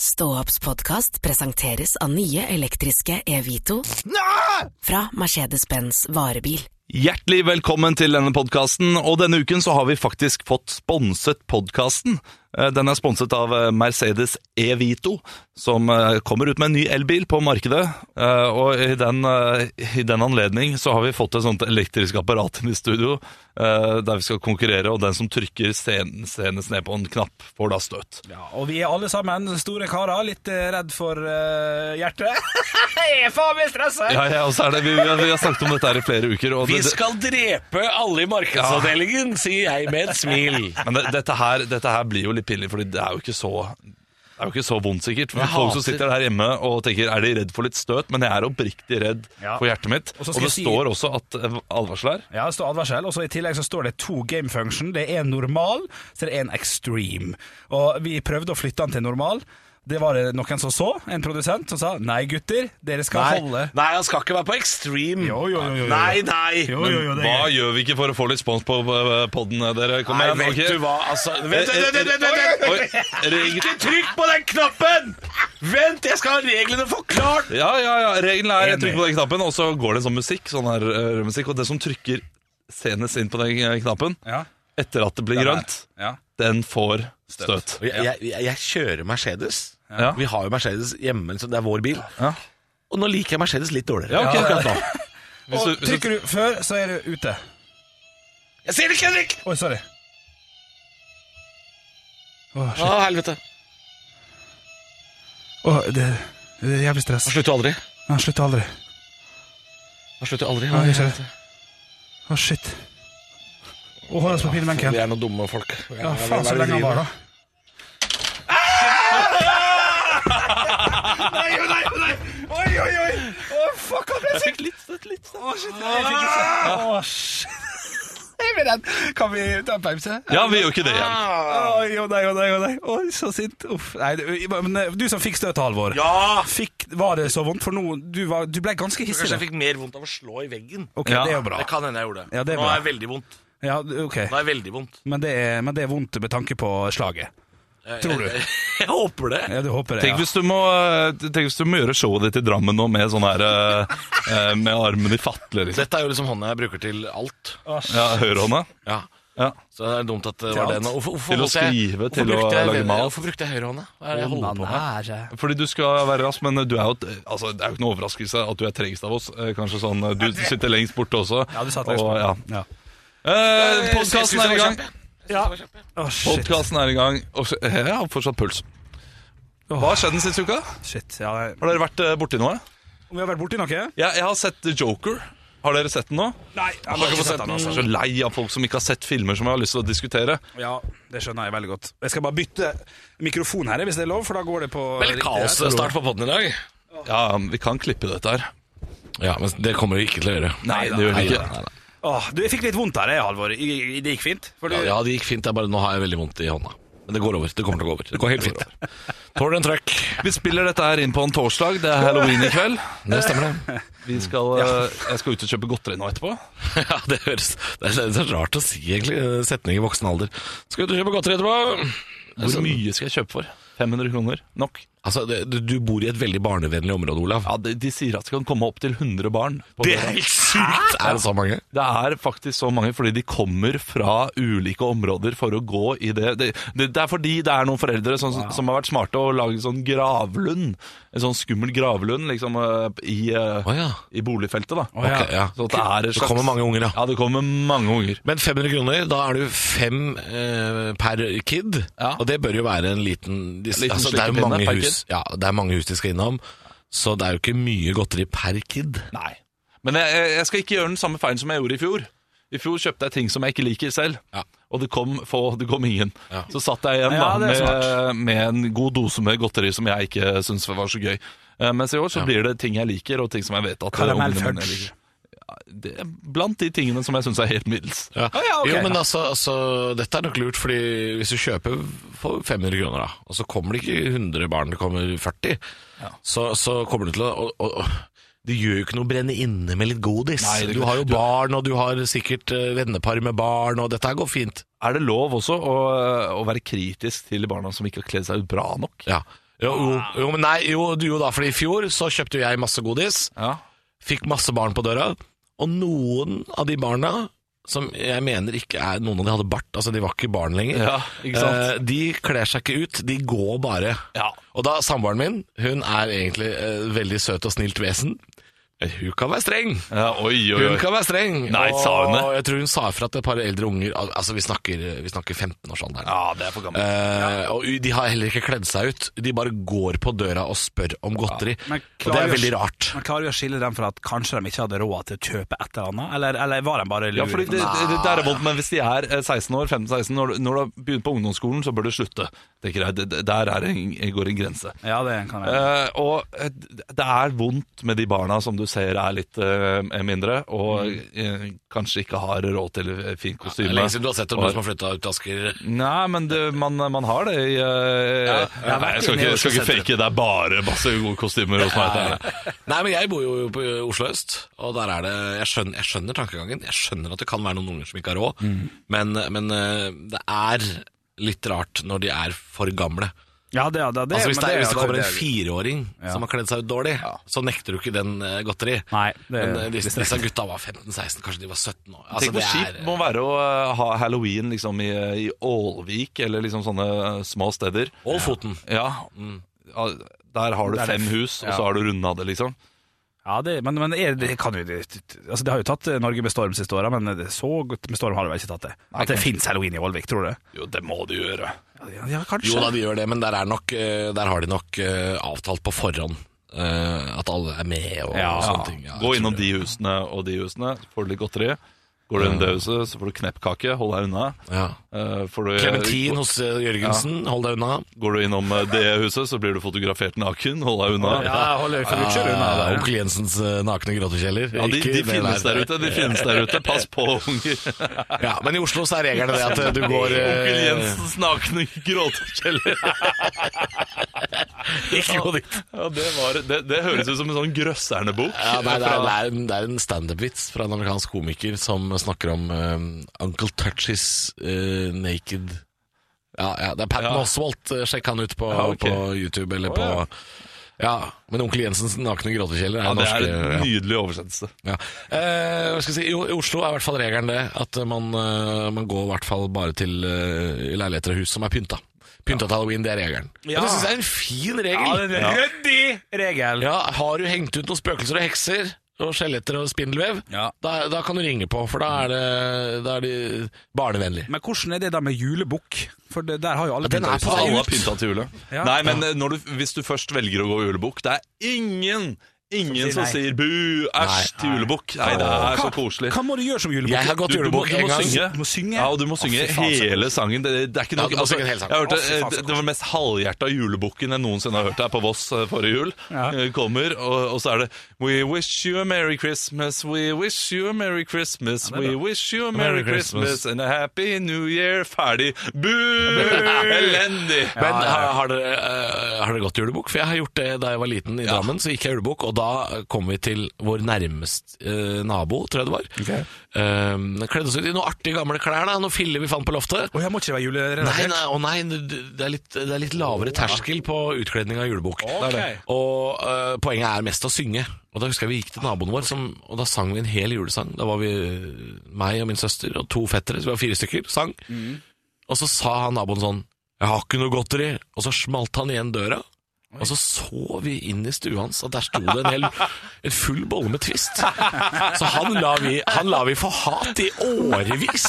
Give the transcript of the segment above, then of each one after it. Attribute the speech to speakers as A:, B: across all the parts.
A: Stå opps podkast presenteres av nye elektriske Evito fra Mercedes-Benz varebil.
B: Hjertelig velkommen til denne podkasten, og denne uken så har vi faktisk fått sponset podkasten. Eh, Den er sponset av eh, Mercedes E-Vito, som eh, kommer ut med en ny elbil på markedet. Eh, Og i den, eh, i den anledning så har vi fått et sånt elektrisk apparat inn i studio, eh, der vi skal konkurrere, og den som trykker sen- senest ned på en knapp får da støt.
C: Ja, og vi er alle sammen store karer, litt eh, redd for eh, hjertet. jeg er faen meg stressa!
B: Ja, ja, og så er det, vi, vi har vi har snakket om dette her i flere uker, og
D: Vi
B: det, det,
D: skal drepe alle i markedsavdelingen, sier jeg med et smil.
B: Men det, dette, her, dette her blir jo litt pinlig, Fordi det er jo ikke så det er jo ikke så vondt, sikkert. For
D: Jeg
B: folk
D: hater-
B: som sitter her hjemme og tenker er de redd for litt støt, men jeg er oppriktig redd
C: Ja.
B: for hjertet mitt.
C: Og
B: Og,
C: så skal
B: det
C: jeg si-
B: står også at eh, advarsel her.
C: Ja, det står advarsel, og så i tillegg så står det to game function. Det er en normal, så det er en extreme. Og vi prøvde å flytte den til normal. Det var det noen som så, en produsent, som sa nei, gutter, dere skal
D: Nei,
C: holde
D: nei, han skal ikke være på extreme.
C: Jo, jo, jo, jo, jo.
D: Nei, nei.
C: Jo, jo, jo, det
B: Hva
C: er
B: gjør vi ikke for å få respons på poden, dere? Kom
D: Nei,
B: igjen.
D: vet
B: ok?
D: du hva, altså vent,
B: Eh, eh,
D: vent, vent, vent, vent,
B: eh,
D: vent.
B: oi, reg-
D: Ikke trykk på den knappen! Vent, jeg skal ha reglene forklart!
B: Ja, ja, ja. Regelen er
C: Enig.
B: jeg trykker på den knappen, og så går det sånn musikk. Sånn her eh, rød musikk Og det som trykker senest inn på den eh, knappen
C: Ja,
B: etter at det blir
C: Den her.
B: grønt,
C: ja.
B: den får støt.
D: Og Jeg, jeg, jeg- jeg kjører Mercedes.
B: Ja.
D: Vi har jo Mercedes hjemme, så det er vår bil.
B: Ja.
D: Og nå liker jeg Mercedes litt dårligere.
B: Ja, ok.
D: akkurat nå.
B: Hvis du-
C: Og
B: hvis du-
C: trykker du før, så er du ute.
D: Jeg ser ikke, Henrik!
C: Oi, sorry. Å, shit.
D: Å, helvete.
C: Å, det, det er jævlig stress.
D: Han slutter aldri.
C: Han slutter aldri.
D: Han slutter aldri.
C: Å, jeg ser det. Å, shit. Å, hold oss på pinnebenken.
D: Vi er noen dumme folk.
C: Ja, faen så lenge han var da Ah!
D: Nei, nei, nei! Oi, oi, oi! Å, fuck, han ble syk! Litt støtt, litt støtt.
C: Åh, shit Jeg blir redd Kan vi ta en pause?
B: Ja, vi gjør ikke det igjen.
C: Oi, å nei, å nei, å nei Oi, så sint Uff, nei det- Men eh, du som fikk støt, Halvor
D: Ja!
C: Fikk, var det så vondt? For nå, du, var, du ble ganske hissig
D: Kanskje jeg
C: da.
D: fikk mer vondt av å slå i veggen.
C: Ok,
B: Ja.
C: det er jo bra
D: Det kan hende jeg gjorde det.
C: Ja, det er
D: Nå
C: bra.
D: er det veldig vondt.
C: Ja, ok
D: Nå er det veldig vondt.
C: men det, er, men det er vondt med tanke på slaget Tror du?
D: Jeg håper det.
C: Ja, du håper det,
B: Tenk
C: ja
B: hvis, du må, eh, tenk hvis du må gjøre showet ditt i Drammen nå med sånn her eh, eh, Med armen i fatle, liksom.
D: Dette er jo liksom hånda jeg bruker til alt.
B: Ja, høyrehånda.
D: Ja.
B: Ja.
D: Så det er dumt at det
C: Til
D: var
C: alt.
D: det nå. Hvorfor, hvorfor
B: Til å
D: holdt jeg-
B: skrive,
D: hvorfor
B: til å
D: brukte jeg
B: lage
D: ven-
B: mat.
D: Hvorfor brukte jeg høyrehånda? Hva er det jeg holder på med?
B: Fordi du skal være rask, men du er jo et, altså, det er jo ikke noe overraskelse at du er tregest av oss. Eh, Kanskje sånn eh, Du sitter lengst borte også.
C: Ja, du satt lengst
B: og,
C: borte.
B: ja.
C: Ja
B: eh, Podkasten er i gang.
C: Åh, shit
B: Podkasten er i gang. Og så- eh, jeg har fortsatt puls. Hva har skjedd den siste uka?
C: Shit, ja nei.
B: Har dere vært eh, borti noe?
C: Om vi har vært borte i noe?
B: Jeg, jeg har sett Joker. Har dere sett den nå?
C: Nei, jeg har ikke fått sett den
B: Jeg
C: altså
B: er så lei av folk som ikke har sett filmer som jeg har lyst til å diskutere.
C: Ja, det skjønner jeg veldig godt. Jeg skal bare bytte mikrofon her, hvis det er lov, for da går det på
D: Veldig kaosstart på podden i dag.
B: Ja, vi kan klippe dette her.
D: Ja, men det kommer vi ikke til å gjøre.
B: Nei, det gjør vi ikke.
C: Åh, du, jeg fikk litt vondt her, jeg, Halvor. I- i- Det gikk fint. For du,
D: Ja, ja, det gikk fint. Det er bare nå har jeg veldig vondt i hånda. Men det går over. Det kommer til å gå over. Det går helt fint. Tåler en trøkk.
B: Vi spiller dette her inn på en torsdag. Det er halloween i kveld.
D: Det stemmer, det.
B: Vi skal, Jeg skal ut og kjøpe godteri nå etterpå.
D: Ja, det høres Det er så rart å si, egentlig. Setning i voksen alder. Skal du kjøpe godteri etterpå?
B: Hvor mye skal jeg kjøpe for? 500 kroner? Nok?
D: Altså, det, du, du bor i et veldig barnevennlig område, Olav.
B: Ja, De, de sier at det kan komme opp til 100 barn. på det.
D: helt sykt! Er det så mange?
B: det er faktisk så mange fordi de kommer fra ulike områder for å gå i det. Det, det, det er fordi det er noen foreldre som, som har vært smarte og laget sånn gravlund. En sånn skummel gravlund liksom, eh, i, eh,
D: Å ja.
B: i boligfeltet. da.
D: Ok, ja.
B: Så at det er et
D: Det
B: slags...
D: kommer mange unger, ja.
B: Ja, det kommer mange unger.
D: Men 500 kroner, da er du fem eh, per kid.
B: Ja.
D: Og det bør jo være en liten, de,
B: En liten
D: altså, Det er jo
B: slikepinne
D: mange
B: per
D: hus, ja, det er mange hus de skal innom, så det er jo ikke mye godteri per kid.
B: Nei. Men jeg, jeg- jeg skal ikke gjøre den samme feilen som jeg gjorde i fjor. I fjor kjøpte jeg ting som jeg ikke liker selv,
D: Ja.
B: og det kom få, det kom ingen.
D: Ja.
B: Så satt jeg igjen
C: Ja, det er
B: da, med, med en god dose med godteri som jeg ikke syntes var så gøy. Eh, Mens i år så blir det ting jeg liker, og ting som jeg vet at eh,
C: Karamell
B: ungene mine
C: fudge.
B: liker. Ja, det er blant de tingene som jeg syns er helt middels.
D: Ja.
C: ja, ok.
D: Jo, men altså, altså, dette er nok lurt, fordi hvis du kjøper for 500 kroner, da, og så kommer det ikke 100 barn, det kommer 40, så, så kommer det til å... å, å det gjør jo ikke noe å brenne inne med litt godis.
B: Nei, det-
D: du har jo
B: du-
D: barn, og du har sikkert eh, vennepar med barn, og dette her går fint.
B: Er det lov også å, å være kritisk til barna som ikke har kledd seg ut bra nok?
D: Ja. Jo, jo, jo, men nei, jo, du- jo da, fordi i fjor så kjøpte jeg masse godis,
B: Ja.
D: fikk masse barn på døra, og noen av de barna som jeg mener ikke er Noen av de hadde bart, altså de var ikke barn lenger.
B: Ja, ikke sant?
D: Eh, de kler seg ikke ut, de går bare.
B: Ja.
D: Og da samboeren min, hun er egentlig eh, veldig søt og snilt vesen. Eh, Hun kan være streng.
B: Ja, oi, oi,
D: Hun
B: oi.
D: kan være streng.
B: Nei,
D: og
B: sa hun det?
D: jeg tror hun sa ifra til et par eldre unger. al- Altså, vi snakker, vi snakker 15-årsalderen.
B: Ja, det er for gammelt.
D: Eh, og de har heller ikke kledd seg ut. De bare går på døra og spør om godteri.
C: Men
D: og det
C: klarer
D: er
C: jo-
D: veldig rart.
C: Man klarer jo å skille dem fra at kanskje de ikke hadde råd til å kjøpe et eller annet, eller, eller var de bare lure?
B: Eh, Ja, fordi det, det, det der er vondt, men hvis de er eh, 16 år, 15-16, når, du- når du har begynt på ungdomsskolen, så bør du slutte. Tenker jeg, det, det- der er en, går en grense.
C: ja, det kan jeg.
B: Eh, og eh, det er vondt med de barna som du ser er litt eh, mindre, og eh, kanskje ikke har råd til eh, fint
D: Mm. Det
B: kostyme.
D: er lenge siden du har sett dem,
B: Og-
D: du som har flytta ut til Asker.
B: Nei, men det, man, man har det i eh,
D: ja.
B: Nei, jeg skal ikke, jeg skal ikke fake, det er bare masse gode kostymer hos meg. det er det.
D: Nei, men jeg bor jo på Oslo øst, og der er det Jeg skjønner, jeg skjønner tankegangen. Jeg skjønner at det kan være noen unger som ikke har råd,
B: Mm.
D: men, men eh, det er litt rart når de er for gamle.
C: Ja, det, ja, det, det,
D: Altså Hvis
C: men
D: det,
C: det-
D: hvis det
C: ja,
D: kommer
C: det-
D: en fireåring som har kledd seg ut dårlig, så nekter du ikke den eh, godteri.
C: Nei, det-
D: men eh, disse,
C: det-
D: disse gutta var 15-16, kanskje de var 17 år. Altså,
B: Tenk hvor
D: det
B: kjipt
D: er-
B: må være å eh, ha halloween liksom, i, i Ålvik, eller liksom sånne eh, små steder.
D: Og foten. Mm.
B: Ja, Ja, der har du
C: Der er
B: fem
C: f-
B: hus, og
C: ja.
B: så har du runda det, liksom.
C: Ja, det, men, men er, det kan jo det, altså, det har jo tatt eh, Norge med storm siste året, men det- så godt med storm har det vel ikke tatt det. At det fins halloween i Ålvik, tror du?
B: Jo, det må du gjøre.
C: Ja, ja kanskje.
D: Jo da, de gjør det, men der, er nok, eh, der har de nok eh, avtalt på forhånd eh, at alle er med og,
C: Ja.
D: og sånne ting. Ja, jeg
B: Gå
D: tror
B: innom
D: det.
B: de husene og de husene, får du litt godteri. Går du inn i det huset, så får du kneppkake, hold deg unna.
D: Ja.
B: Eh, får du-
D: Clementin hos eh, Jørgensen, hold deg unna.
B: Går du innom eh, det huset, så blir du fotografert naken, hold deg unna.
C: Ja, hold øye for utskjell unna.
D: Ja,
C: der.
D: Onkel Jensens eh, nakne grottekjeller.
B: Ja, de,
D: Ikke
B: de
D: det
B: finnes der ute, de finnes der ute. Pass på, unger.
D: Ja, men i Oslo så er regelen det at eh, du går
B: Onkel
D: eh,
B: Jensens nakne gråtekjeller.
D: Ikke gå dit.
B: Ja, det, var, det, det høres ut som en sånn Grøsserne-bok.
D: Ja, nei, det, er, det,
B: Fra-
D: er en, det er en standup-vits fra en amerikansk komiker som snakker om eh, Uncle Touches eh, naked ja, ja, det er Patton
B: Ja.
D: Oswalt. eh, Sjekk han ut på,
B: Ja, ok.
D: på YouTube eller på
B: ja.
D: ja. men Onkel Jensens nakne gråtekjeller er
B: ja,
D: ja,
B: det er
D: norske.
B: en
D: ja.
B: nydelig oversettelse.
D: Ja. Eh, hva skal jeg si? Jo, I Oslo er i hvert fall regelen det at man, eh, man går i hvert fall bare til eh, i leiligheter og hus som er pynta. Pynta til halloween, det er regelen.
C: Ja.
D: Og det syns jeg er en fin regel.
C: Ja,
D: Ja,
C: det er en ryddig regel.
D: Har du hengt ut noen spøkelser og hekser og skjeletter og spindelvev,
C: Ja.
D: da, da kan du ringe på, for da er, det, da er de barnevennlige.
C: Men hvordan er det da med julebukk? For det, der har jo alle
D: Ja, den er
C: pyntet
D: på
C: seg.
D: vei
B: Alle har
D: ut.
B: pynta til julet.
C: Ja.
B: Nei, men eh, når du, hvis du først velger å gå julebukk, det er ingen Ingen som
C: Som sier
B: sier
C: nei.
B: bu, æsj til julebukk. Nei, det er så koselig.
C: Hva må du gjøre som julebukk?
D: Jeg har gått
B: Du, du, må,
D: julebukk
B: du
D: en
B: må
D: gang.
B: synge.
C: Du må synge.
B: Ja, og du må
C: Å,
B: synge
C: fy faen, så
B: hele sangen. Det, det er ikke
D: Ja,
B: noe altså,
D: du må synge en hel sang.
B: Jeg hørte,
C: Å, fy faen, så
B: eh, det, det var den mest halvhjerta julebukken jeg noensinne har hørt her på Voss eh, forrige jul.
C: Ja.
B: Eh, Kommer, og, og så er det We wish you a merry Christmas, we wish you a merry Christmas, we wish you a merry
D: Merry Christmas.
B: Christmas and a happy new year. Ferdig. Bu! Elendig!
D: Men har, har, dere, eh, har dere gått julebukk? For jeg har gjort det da jeg var liten i Drammen. Så gikk jeg julebukk, og da kom vi til vår nærmest eh, nabo, tror jeg det var.
C: Ok.
D: Eh, kledde oss ut i noen artige gamle klær, da, noen filler vi fant på loftet.
C: Å, jeg må ikke være
D: Nei,
C: julerelatert.
D: nei, å nei du- du- det, er litt, det er litt lavere terskel på utkledning av julebukk.
C: Ok.
D: Det er det. Og eh, poenget er mest å synge. Og da husker jeg vi gikk til naboen vår, som, og da sang vi en hel julesang. Da var vi eh, meg og min søster og to fettere, så vi var fire stykker, sang. Og så sa han naboen sånn 'Jeg har ikke noe godteri', og så smalt han igjen døra. Og så så vi inn i stua hans, og der sto det en, hel, en full bolle med Twist. Så han la vi, han la vi for hat i årevis.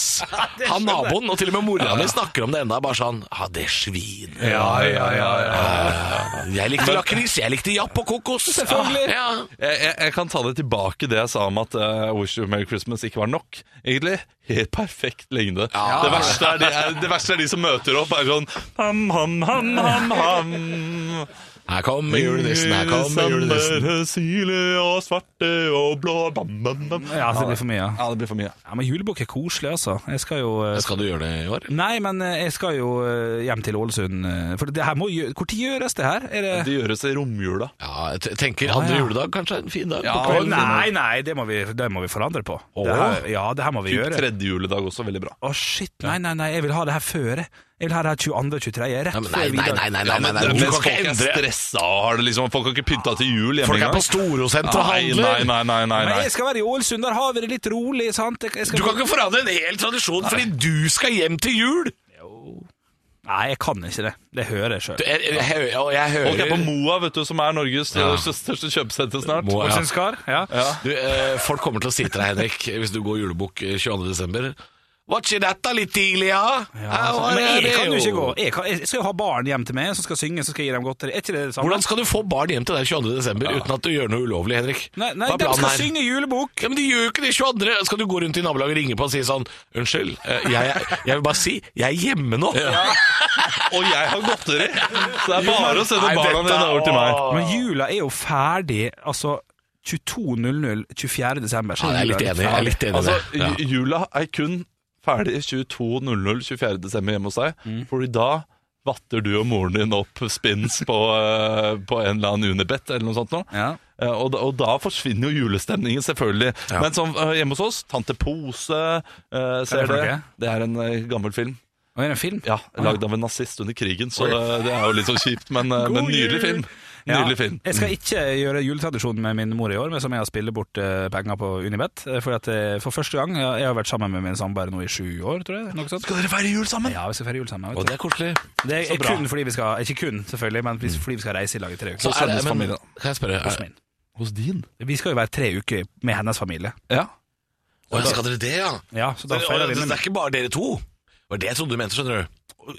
D: Han naboen, og til og med mora mi snakker om det enda, bare sånn Ja, det svinet.
B: Ja, ja, ja, ja.
D: Jeg likte lakris, jeg likte japp og kokos. Selvfølgelig. Ja.
B: Jeg, jeg, jeg kan ta det tilbake det jeg sa om at eh, I Wish You a Merry Christmas ikke var nok. Egentlig helt perfekt lengde.
D: Ja.
B: Det, verste er de, er, det verste er de som møter opp er sånn Ham, ham, ham, ham, ham.
D: Her kommer julenissen, her kommer julenissen.
B: Sandere, sile og svarte og blå bam, bam, bam.
C: Ja, altså, det blir for mye. ja.
B: Ja, det blir for mye.
C: Ja, Men julebukk er koselig, altså. Jeg skal jo eh,
D: Skal du gjøre det i år?
C: Nei, men eh, jeg skal jo eh, hjem til Ålesund. eh, For det her må gjø- Hvor tid gjøres det her? Er det
B: Det gjøres i romjula.
D: Ja, jeg te- tenker andre
C: ja.
D: juledag kanskje er en fin dag
C: ja,
D: på kvelden.
C: Nei, nei, det må vi, det må vi forandre på. Det her, ja, det her må vi
B: Typ
C: gjøre.
B: tredje juledag også, veldig bra.
C: Å, shit. Nei, nei, nei, jeg vil ha det her før. jeg. Jeg vil ha det her 22.-23. Rett
D: Nei, men
C: før
D: nei, nei,
C: videre.
D: nei, nei, nei, nei, nei.
B: Det er
D: Du
B: mens
D: kan
B: folk
D: ikke
B: er
D: endre
B: stressa og har det liksom Folk har ikke pynta til jul hjemme
D: Folk er
B: engang.
D: på Storosenteret og
B: Nei, nei,
D: handler
B: nei, nei, nei,
C: Men
B: nei.
C: jeg skal være i Ålesund, der har vi det litt rolig, sant? Jeg- Jeg skal...
D: Du kan ikke forandre en hel tradisjon fordi du skal hjem til jul
C: Nei, jeg kan ikke det. Det hører jeg sjøl.
D: Du, jeg, jeg, jeg, jeg, jeg
B: Folk er på
D: hører
B: Moa, vet du, som er Norges
D: Ja.
B: største største kjøpesenter snart.
D: Moa, ja.
C: Ålesund Skar? Ja.
D: du, eh, Folk kommer til å si til deg, Henrik Hvis du går julebok eh, 22. desember Var ikke dette litt tidlig, ja? Her var
C: altså, Men jeg
D: det
C: kan jo
D: jo.
C: ikke gå. Jeg, kan, jeg skal jo ha barn hjem til meg som skal synge, så skal jeg gi dem godteri. Er ikke det det samme?
D: Hvordan skal du få barn hjem til deg 22. desember Uten at du gjør noe ulovlig, Henrik?
C: Nei, nei
D: Hva er
C: de
D: planen
C: skal
D: her?
C: synge julebok!
D: Ja, men de gjør jo ikke det 22. Skal du gå rundt i nabolaget og ringe på og si sånn Unnskyld, eh, jeg, jeg vil bare si jeg er hjemme nå.
B: Og jeg har godteri! Så det er bare å sende
D: Nei,
B: barna
D: dette-
B: dine over til meg.
D: Åh.
C: Men jula er jo ferdig, altså 22.00 24. desember. så
D: Ja, jeg er litt
C: jula
D: enig, jeg er litt e- enig
B: Altså,
D: i det. Ja.
B: ju- Jula er kun ferdig 22.00 24. desember hjemme hos deg, Fordi da vatter du og moren din opp spins på, eh, på en eller annen Unibet eller noe sånt noe.
C: Ja.
B: Eh, Og da, og da forsvinner jo julestemningen, selvfølgelig. Men som eh, hjemme hos oss, Tante Pose eh,
C: Hva er
B: ser
C: det for
B: det.
C: noe?
B: Det er en eh, gammel film.
C: Og er det en film?
B: Ja, Lagd av en nazist under krigen, så eh, det er jo litt sånn kjipt, men, eh, men nydelig film.
C: Ja.
B: Nydelig film.
C: Jeg
D: Mm.
C: skal ikke gjøre juletradisjonen med min mor i år, men som jeg har spillet bort eh, penger på Unibet. eh, Fordi at eh, For første gang jeg, jeg har vært sammen med min samboer nå i sju år, tror jeg. Noe sånt.
B: Skal dere feire jul sammen?
C: Ja, vi skal feire jul sammen.
D: Og
C: Vet du.
D: det er koselig.
C: Det
B: så
C: er
B: bra.
C: kun fordi vi skal Ikke kun, selvfølgelig, men fordi vi skal reise i lag i tre uker.
D: Så er det,
B: sendes
D: men,
B: familien.
D: kan jeg spørre
C: Hos
D: er,
C: min.
B: Hos din?
C: Vi skal jo være tre uker med hennes familie.
B: Ja.
D: Å, ja, Skal dere det, ja?
C: Ja, så da
D: Det,
C: feirer vi
D: det, det
C: med
D: er ikke bare dere to. Det var det jeg trodde du mente, skjønner du.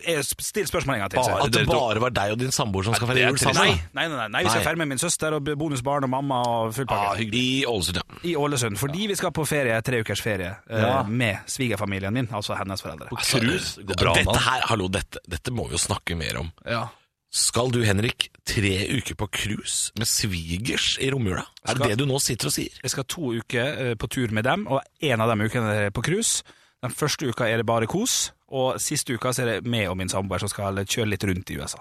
C: Jeg Still spørsmål en gang til.
B: Bare
C: Bare.
D: At det
B: dere to.
D: bare var deg og din samboer som skal
B: det
D: feire
B: er
D: jul
B: trist,
C: Nei,
D: sammen.
C: nei, nei, nei, vi skal
D: Nei.
C: feire med min søster og bonusbarn og mamma og full
D: Ah,
C: pakke.
D: hyggelig. I Ålesund, ja.
C: I Ålesund, fordi vi skal på ferie, tre ukers ferie, eh,
B: Ja.
C: med svigerfamilien min, altså hennes foreldre.
D: Altså,
B: Cruise går bra,
D: dette
B: mann.
D: her, hallo, dette, dette må vi jo snakke mer om.
B: Ja.
D: Skal du, Henrik, tre uker på cruise med svigers i romjula? Er
C: Skal-
D: det det du nå sitter og sier?
C: Jeg skal to uker eh, på tur med dem, og en av de ukene er på cruise. Den første uka er det bare kos, og siste uka så er det meg og min samboer som skal kjøre litt rundt i USA.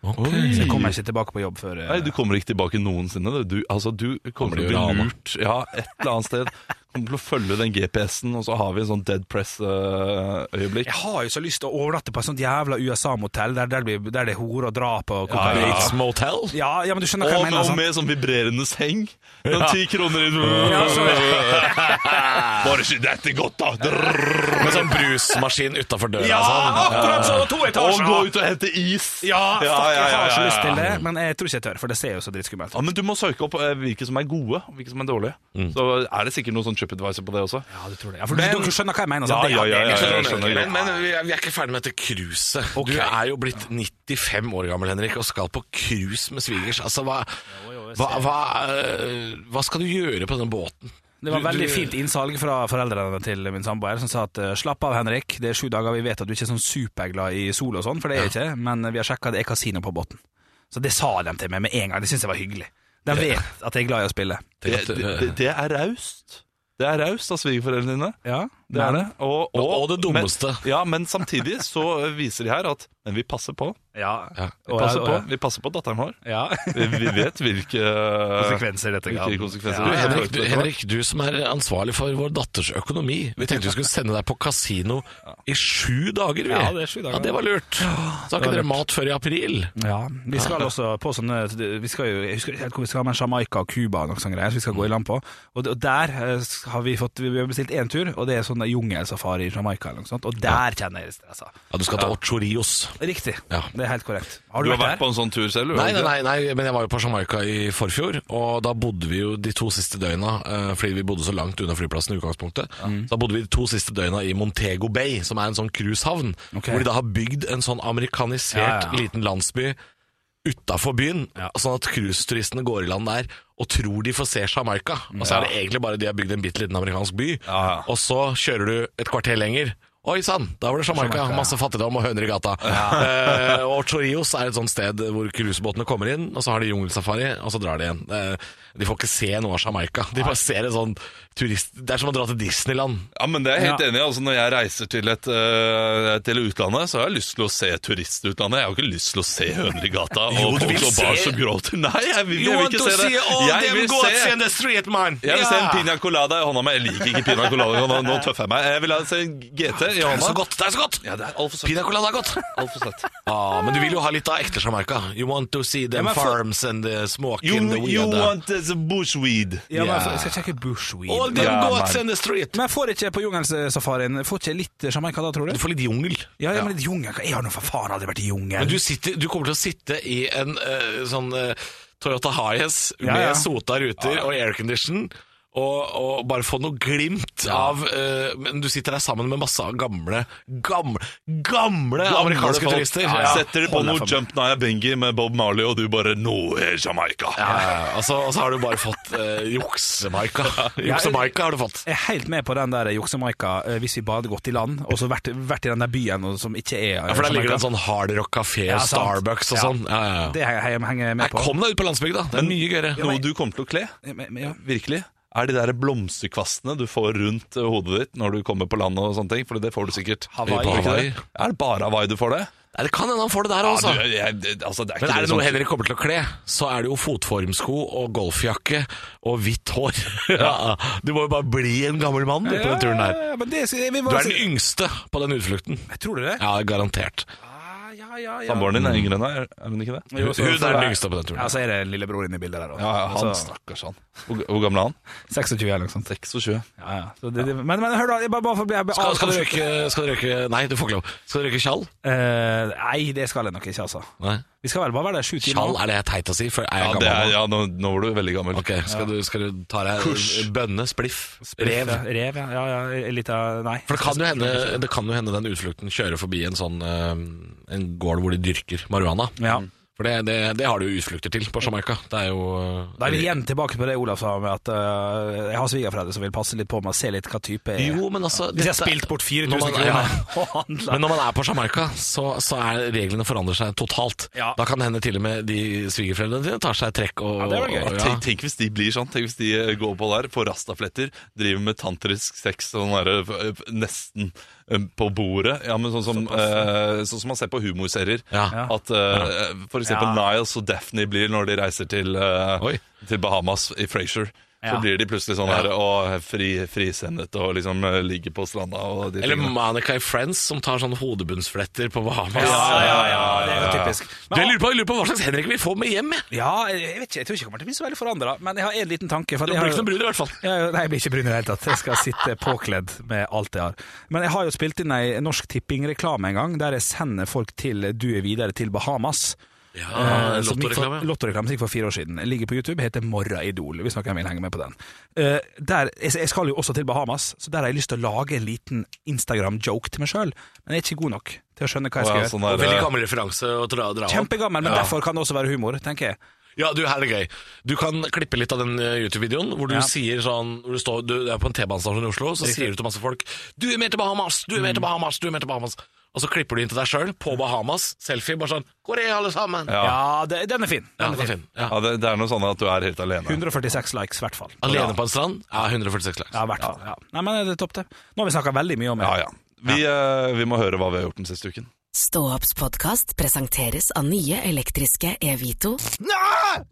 C: Så jeg kommer ikke tilbake på jobb før eh,
B: Mm. Nei, du kommer ikke tilbake noensinne. du. Du, altså, du kommer,
D: Kommer
B: til
D: til
B: å bli
D: å rane.
B: lurt ja, et eller annet sted. Kommer til å følge den GPS-en, og så har vi en sånn dead press-øyeblikk.
C: Jeg har jo så lyst til å overnatte på et sånt jævla USA-motell, der, der, det blir- der det er hore og drap og kokain. Ja,
D: Bates Motel?
C: ja, men du skjønner hva
B: og,
C: jeg altså? mener.
B: og
C: sant?
B: med sånn vibrerende seng. Sånn ti kroner inn Bare ikke dette godt, da! Drrrr.
D: Med sånn brusmaskin utafor døra.
C: Ja,
D: sånn.
C: akkurat så! To
B: Og
C: etasjer!
B: gå ut og hente is!
C: Ja, fuck, jeg har så lyst til
B: ja.
C: det, men jeg tror ikke jeg tør, for det ser jo så drittskummelt
B: Ja,
C: ut.
B: men Du må søke opp eh, hvilke som er gode, og hvilke som er dårlige. Så er det sikkert noe sånn TripAdvisor på det også.
C: Ja, du tror det. Ja, for men, dere skjønner hva jeg mener.
B: Ja,
C: sant?
B: ja, ja, ja,
D: Jeg skjønner,
B: jeg Eh, skjønner
D: men,
B: godt.
D: men vi, er, vi er ikke ferdig med dette cruiset.
C: Ok.
D: Du er jo blitt 95 år gammel Henrik og skal på cruise med svigers. Altså, hva, hva, hva, eh, hva skal du gjøre på den båten?
C: Det var
D: Du-
C: veldig
D: du-
C: fint innsalg fra foreldrene til min samboer, som sa at eh, slapp av, Henrik, det er sju dager, vi vet at du ikke er sånn superglad i sol og sånn, for det er jeg ikke, men vi har sjekka, det er kasino på båten. Så det sa de til meg med en gang, det syns jeg var hyggelig. De vet at jeg er glad i å spille.
D: Tenk
B: Det,
D: at,
B: det,
D: eh,
B: det- det er raust. Det er raust av svigerforeldrene dine.
C: Ja,
B: Det er det. Og,
D: Og det dummeste.
B: Men, ja, men samtidig så viser de her at Men vi passer på.
C: Ja.
D: Ja.
B: Vi
C: Og-
B: passer
C: og-
B: på, vi passer på datteren vår.
C: Ja.
B: Vi, vi vet hvilke
C: Konsekvenser dette
B: Hvilke konsekvenser
D: Du,
B: det
D: Henrik, du, Henrik, du som er ansvarlig for vår datters økonomi. Vi tenkte vi skulle sende deg på kasino i sju dager. Vi.
C: Ja, det er sju dager.
D: Ja, det var lurt. Så har ikke dere mat før i april.
C: Ja, vi skal også på sånne vi skal jo, Jeg husker ikke helt hvor vi skal, men Jamaica og Cuba og noen sånne greier som vi skal gå i land på. Og, og der eh, har vi fått Vi har bestilt én tur, og det er sånn jungelsafari i Jamaica eller noe sånt. Og der kjenner jeg det stressa.
D: Ja, du skal til Ocho Rios.
C: Riktig.
D: Ja.
C: Det er helt korrekt. Har
B: Du
C: du,
B: har vært
C: vært der?
B: på en sånn tur selv?
D: Nei, nei, nei, nei, men jeg var jo på Jamaica i forfjor, og da bodde vi jo de to siste døgna, eh, fordi vi bodde så langt unna flyplassen i utgangspunktet,
C: Mm.
D: så da bodde vi de to siste døgna i Montego Bay, som er en sånn cruisehavn,
C: Ok.
D: hvor de da har bygd en sånn amerikanisert
C: Ja, ja, ja.
D: liten landsby utafor byen, sånn at cruiseturistene går i land der og tror de får se Jamaica, og så er det egentlig bare de har bygd en bitte liten amerikansk by,
B: Ja, ja.
D: og så kjører du et kvarter lenger, Oi sann, da var det Jamaica.
C: Jamaica, ja.
D: Masse fattigdom og høner i gata. Eh, og Chorillos er et sånt sted hvor cruisebåtene kommer inn, og så har de jungelsafari, og så drar de igjen. Eh, de får ikke se noe av Jamaica. De bare ser en sånn turist... Det er som å dra til Disneyland.
B: Ja, men det er jeg helt
C: Ja.
B: enig i. Altså, når jeg reiser til, et, øh, til utlandet, så har jeg lyst til å se turistutlandet. Jeg har ikke lyst til å se høner i gata og
D: du
B: folk
D: vil
B: og barn
D: se-
B: som gråter. Nei, jeg vil, jeg vil ikke se det. Jeg vil se,
D: the street, man!
B: jeg vil se en piña colada i hånda mi. Jeg liker ikke piña colada i hånda, nå tøffer jeg meg. Jeg vil ha se en GT i
D: Det er så
B: hånda.
D: godt! det er så godt
B: Ja, det er altfor søtt.
D: Pina colada er godt!
B: Alt for søtt.
D: Ah, men du vil jo ha litt av ekte Jamaica. You want to see them
C: Ja, men for-
D: farms and the smoke
B: You,
D: in the
B: you
D: weed.
B: want the bushweed.
C: Ja, men
D: Ja.
C: jeg skal sjekke bushweed.
D: All them
B: Ja,
D: goats
B: man.
D: in the street.
C: Men jeg får ikke på jungelsafarien Får ikke litt Jamaica da, tror
D: Du
C: du?
D: får litt jungel.
C: Ja, ja, men litt jungel Jeg har nå for faen aldri vært i jungel.
D: Men du, sitter, du kommer til å sitte i en eh, sånn eh, Toyota Hiace
C: Ja, ja.
D: med sota ruter og aircondition. Og, og bare få noe glimt av eh, Men du sitter der sammen med masse gamle, gamle, gamle amerikanske
B: folk.
D: turister.
B: Ja,
D: Ja.
B: Setter på noe Jump Naya Bengi med Bob Marley, og du bare Nå er Jamaica.
D: Ja, ja, ja. Og så og så har du bare fått uh, juksemaika. Juksemaika har du fått.
C: Jeg er helt med på den der Joksemajka, eh, hvis vi bare hadde gått i land, og så vært, vært i den der byen og, som ikke er
D: Ja, for der ligger det
C: Jamaica.
D: en sånn hardrock kafé,
C: Ja, sant.
D: Starbucks og
C: Ja.
D: sånn. Ja, ja, ja.
C: Det henger jeg henger jeg
D: Nei,
C: med på.
D: kom deg ut på landsbygda. Det er mye gøyere.
B: Noe du kommer til å kle.
C: Eh, Men- men ja.
B: virkelig, er de der blomsterkvastene du får rundt eh, hodet ditt når du kommer på landet og sånne ting, for det får du sikkert.
C: Hawaii.
B: Ikke det?
D: Hawaii.
B: Er det bare Hawaii du får det?
D: Nei, det kan hende han får det der
B: Ja,
D: også.
B: du, jeg, det- altså, det er
D: Men
B: ikke
D: er det noe
B: som-
D: Henrik kommer til å kle, så er det jo fotformsko og golfjakke og hvitt hår. Ja, du må jo bare bli en gammel mann du, på den turen der.
C: Ja, men det, vi
D: Du er den yngste på den utflukten.
C: Tror du det?
D: Ja, garantert.
C: Ah, ja, ja, ja.
B: Samboeren din er yngre enn deg, er- er hun ikke det?
C: Jo, så-
D: Hun er
C: så
D: den yngste på den turen.
C: Ja, så er det lillebror inne i bildet der også.
B: Ja, ja, han
C: Altså,
B: stakkars han. Hvor, hvor gammel er han?
C: 26 eller noe sånt.
B: 26.
C: Ja, ja. Så det, det, men, men hør da, jeg bare, bare for å bli jeg-
D: Skal, skal, du røyke, skal du røyke Nei, du får ikke lov. Skal du røyke tjall?
C: Eh, Nei, det skal jeg nok ikke, altså.
D: Nei.
C: Vi skal vel bare være der sju
D: Tjall
C: timer.
D: er det teit å si, for er
B: Ja,
D: jeg
B: det er,
D: gammel nå?
B: ja nå, nå var du veldig gammel.
D: Ok, skal du, skal du ta deg
B: Kurs.
D: bønne, spliff,
C: Rev.
D: rev?
C: Rev, ja. ja, ja litt av Nei.
D: For det kan, jo hende, det kan jo hende den utflukten kjører forbi en sånn eh, En gård hvor de dyrker marihuana.
C: Ja.
D: For det, det, det har du jo utflukter til på Jamaica. Det er jo eh,
C: Da er vi igjen tilbake på det Olav sa med at eh, jeg har svigerforeldre som vil passe litt på meg og se litt hva type jeg er.
D: Jo, men altså
C: Hvis jeg har
D: dette-
C: spilt bort 4000
D: Når man-
C: kroner
D: ja.
C: og handla
D: Men når man er på Jamaica, så, så er reglene forandrer seg totalt.
C: Ja.
D: Da kan det hende til og med de svigerforeldrene dine tar seg et trekk og
C: Ja, det var gøy.
D: og-
B: Tenk, tenk hvis de blir sånn, tenk hvis de eh, går på der, får rastafletter, driver med tantrisk sex sånn der, eh, f- nesten eh, på bordet. Ja, men sånn som, eh, sånn som man ser på humorserier.
D: Ja.
B: At eh, for eksempel
C: Ja.
B: Niles og Daphne blir når de reiser til, eh,
D: Oi.
B: til Bahamas i Frasier. Så
C: Ja.
B: blir de plutselig sånn her og fri, frisendet og liksom eh, ligger på stranda og de
D: Eller
B: tingene.
D: Manica i Friends som tar sånne hodebunnsfletter på Bahamas.
C: Ja, ja, ja, det er jo typisk.
D: Du, jeg, lurer på, jeg lurer på hva slags Henrik vi får med hjem. Jeg.
C: Ja, jeg vet ikke, jeg tror ikke jeg kommer til å bli så veldig forandra, men jeg har en liten tanke. For
D: Det
C: jeg
D: blir ikke
C: har,
D: noe brud i hvert fall.
C: ja, ja, nei, jeg blir ikke brun i det hele tatt. Jeg skal sitte påkledd med alt jeg har. Men jeg har jo spilt inn ei Norsk Tipping-reklame en gang, der jeg sender folk til Du er videre til Bahamas.
D: Ja,
C: Eh, som gikk for-
D: Lottoreklame.
C: Lottoreklame som gikk for fire år siden. Ligger på YouTube, heter Morra Idol, hvis noen vil henge med på den. Eh, der, jeg, jeg skal jo også til Bahamas, så der har jeg lyst til å lage en liten Instagram-joke til meg sjøl, men jeg er ikke god nok til å skjønne hva jeg skal
B: Og ja,
C: gjøre.
B: sånn der,
D: Veldig
B: eh,
D: gammel referanse å dra, dra opp.
C: Kjempegammel, men derfor kan det også være humor, tenker jeg.
D: Ja, du, her er det gøy. Du kan klippe litt av den eh, YouTube-videoen hvor du
C: Ja.
D: sier sånn hvor du, står, du er på en T-banestasjon i Oslo, så sier du til masse folk 'Du er med til Bahamas! Du er med til
C: Mm.
D: Bahamas! Du er med til Bahamas!' Og så klipper du inn til deg sjøl på Bahamas, selfie, bare sånn 'Hvor er alle sammen?'
C: Ja, det, den er fin.
D: Ja,
C: Den
D: det
C: er
D: er
C: fin.
D: fint. Ja.
B: ja, det, det er noe sånn at du er helt alene.
C: 146 likes, i hvert fall.
D: Alene på en strand? Ja, 146 likes.
C: Ja, i hvert fall. Ja. Nei, men det er topp, det. Nå har vi snakka veldig mye om det.
B: Ja, ja. Vi, eh, vi må høre hva vi har gjort den siste uken.
A: Ståopps podkast presenteres av nye elektriske Evito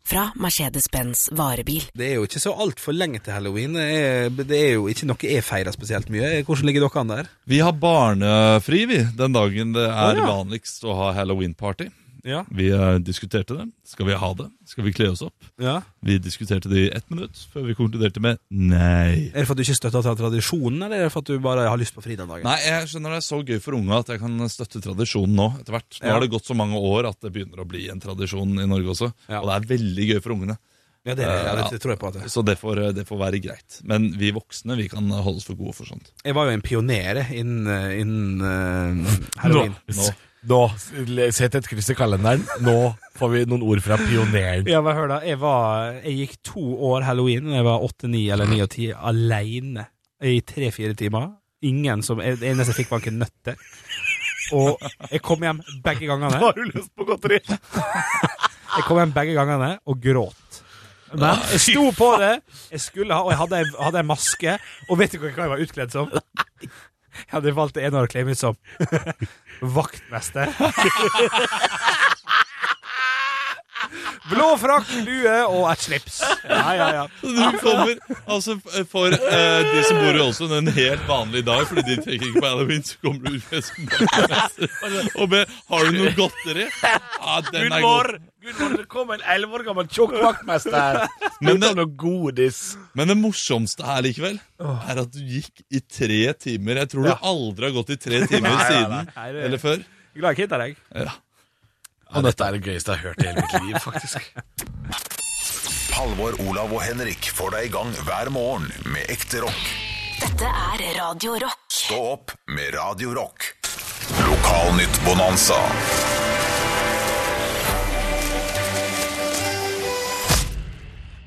A: fra Mercedes-Benz varebil.
E: Det er jo ikke så altfor lenge til halloween. Det er, det er jo ikke noe jeg feirer spesielt mye. Hvordan ligger dere an der?
B: Vi har barnefri, vi, den dagen det er
E: Å, ja.
B: vanligst å ha halloween-party.
E: Ja.
B: Vi eh, diskuterte det. Skal vi ha det? Skal vi kle oss opp?
E: Ja.
B: Vi diskuterte det i ett minutt, før vi konkluderte med nei.
E: Er det for at du ikke støtter til tradisjonen, eller er det for at du bare har lyst på fri den dagen?
B: Nei, jeg skjønner det er så gøy for unga at jeg kan støtte tradisjonen nå etter hvert. Nå
E: Ja.
B: har det gått så mange år at det begynner å bli en tradisjon i Norge også.
E: Ja.
B: Og det er veldig gøy for ungene.
E: Ja, det, er, ja, det,
B: Ja.
E: det tror jeg på. At det.
B: Så det får, det får være greit. Men vi voksne vi kan holde oss for gode for sånt.
E: Jeg var jo en pioner jeg, innen, eh, innen eh, halloween.
B: Nå.
F: Nå, sett et kryss i kalenderen. Nå får vi noen ord fra pioneren.
E: Ja, men hør da, jeg, var, jeg gikk to år halloween da jeg var åtte, ni eller ni og ti, aleine i tre-fire timer. Ingen som Det eneste jeg fikk, var ikke nøtter. Og jeg kom hjem begge gangene.
D: Har du lyst på godteri?
E: Jeg kom hjem begge gangene og gråt. Men jeg sto på det. Jeg skulle ha, og jeg hadde, hadde en maske. Og vet du hva jeg var utkledd som? Jeg hadde valgt det ene å kle meg ut som vaktmester. Blå frakk, lue og et slips. Ja, ja, ja.
G: Du kommer altså f- for eh, de som bor i Ålesund, en helt vanlig dag, fordi de tenker ikke på halloween, så kommer du ut med som vaktmester. og med 'Har du noe godteri?' Ja, den er god.
D: Gunvor, det kom en elleve år gammel tjukk vaktmester
G: Men
D: uten
G: det,
D: noe godis.
G: men det morsomste her likevel, er at du gikk i tre timer. Jeg tror du aldri har gått i tre timer siden
E: Nei, det-
G: eller før.
E: Glad jeg ikke hitta deg.
D: Ja, dette er det gøyeste jeg har hørt i hele mitt liv, faktisk.
H: Halvor, Olav og Henrik får deg i gang hver morgen med ekte rock.
A: Dette er Radio Rock.
H: Stå opp med Radio Rock. Lokalnytt Bonanza.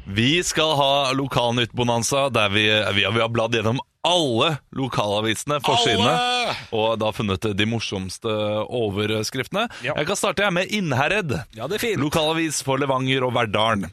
B: Vi skal ha Lokalnytt-bonanza, der vi, vi, har, vi har bladd gjennom alle lokalavisene, forsidene,
D: Alle!
B: og da funnet de morsomste overskriftene. Jeg kan starte her med Innherred.
C: Ja, det er fint.
B: Lokalavis for Levanger og Verdalen.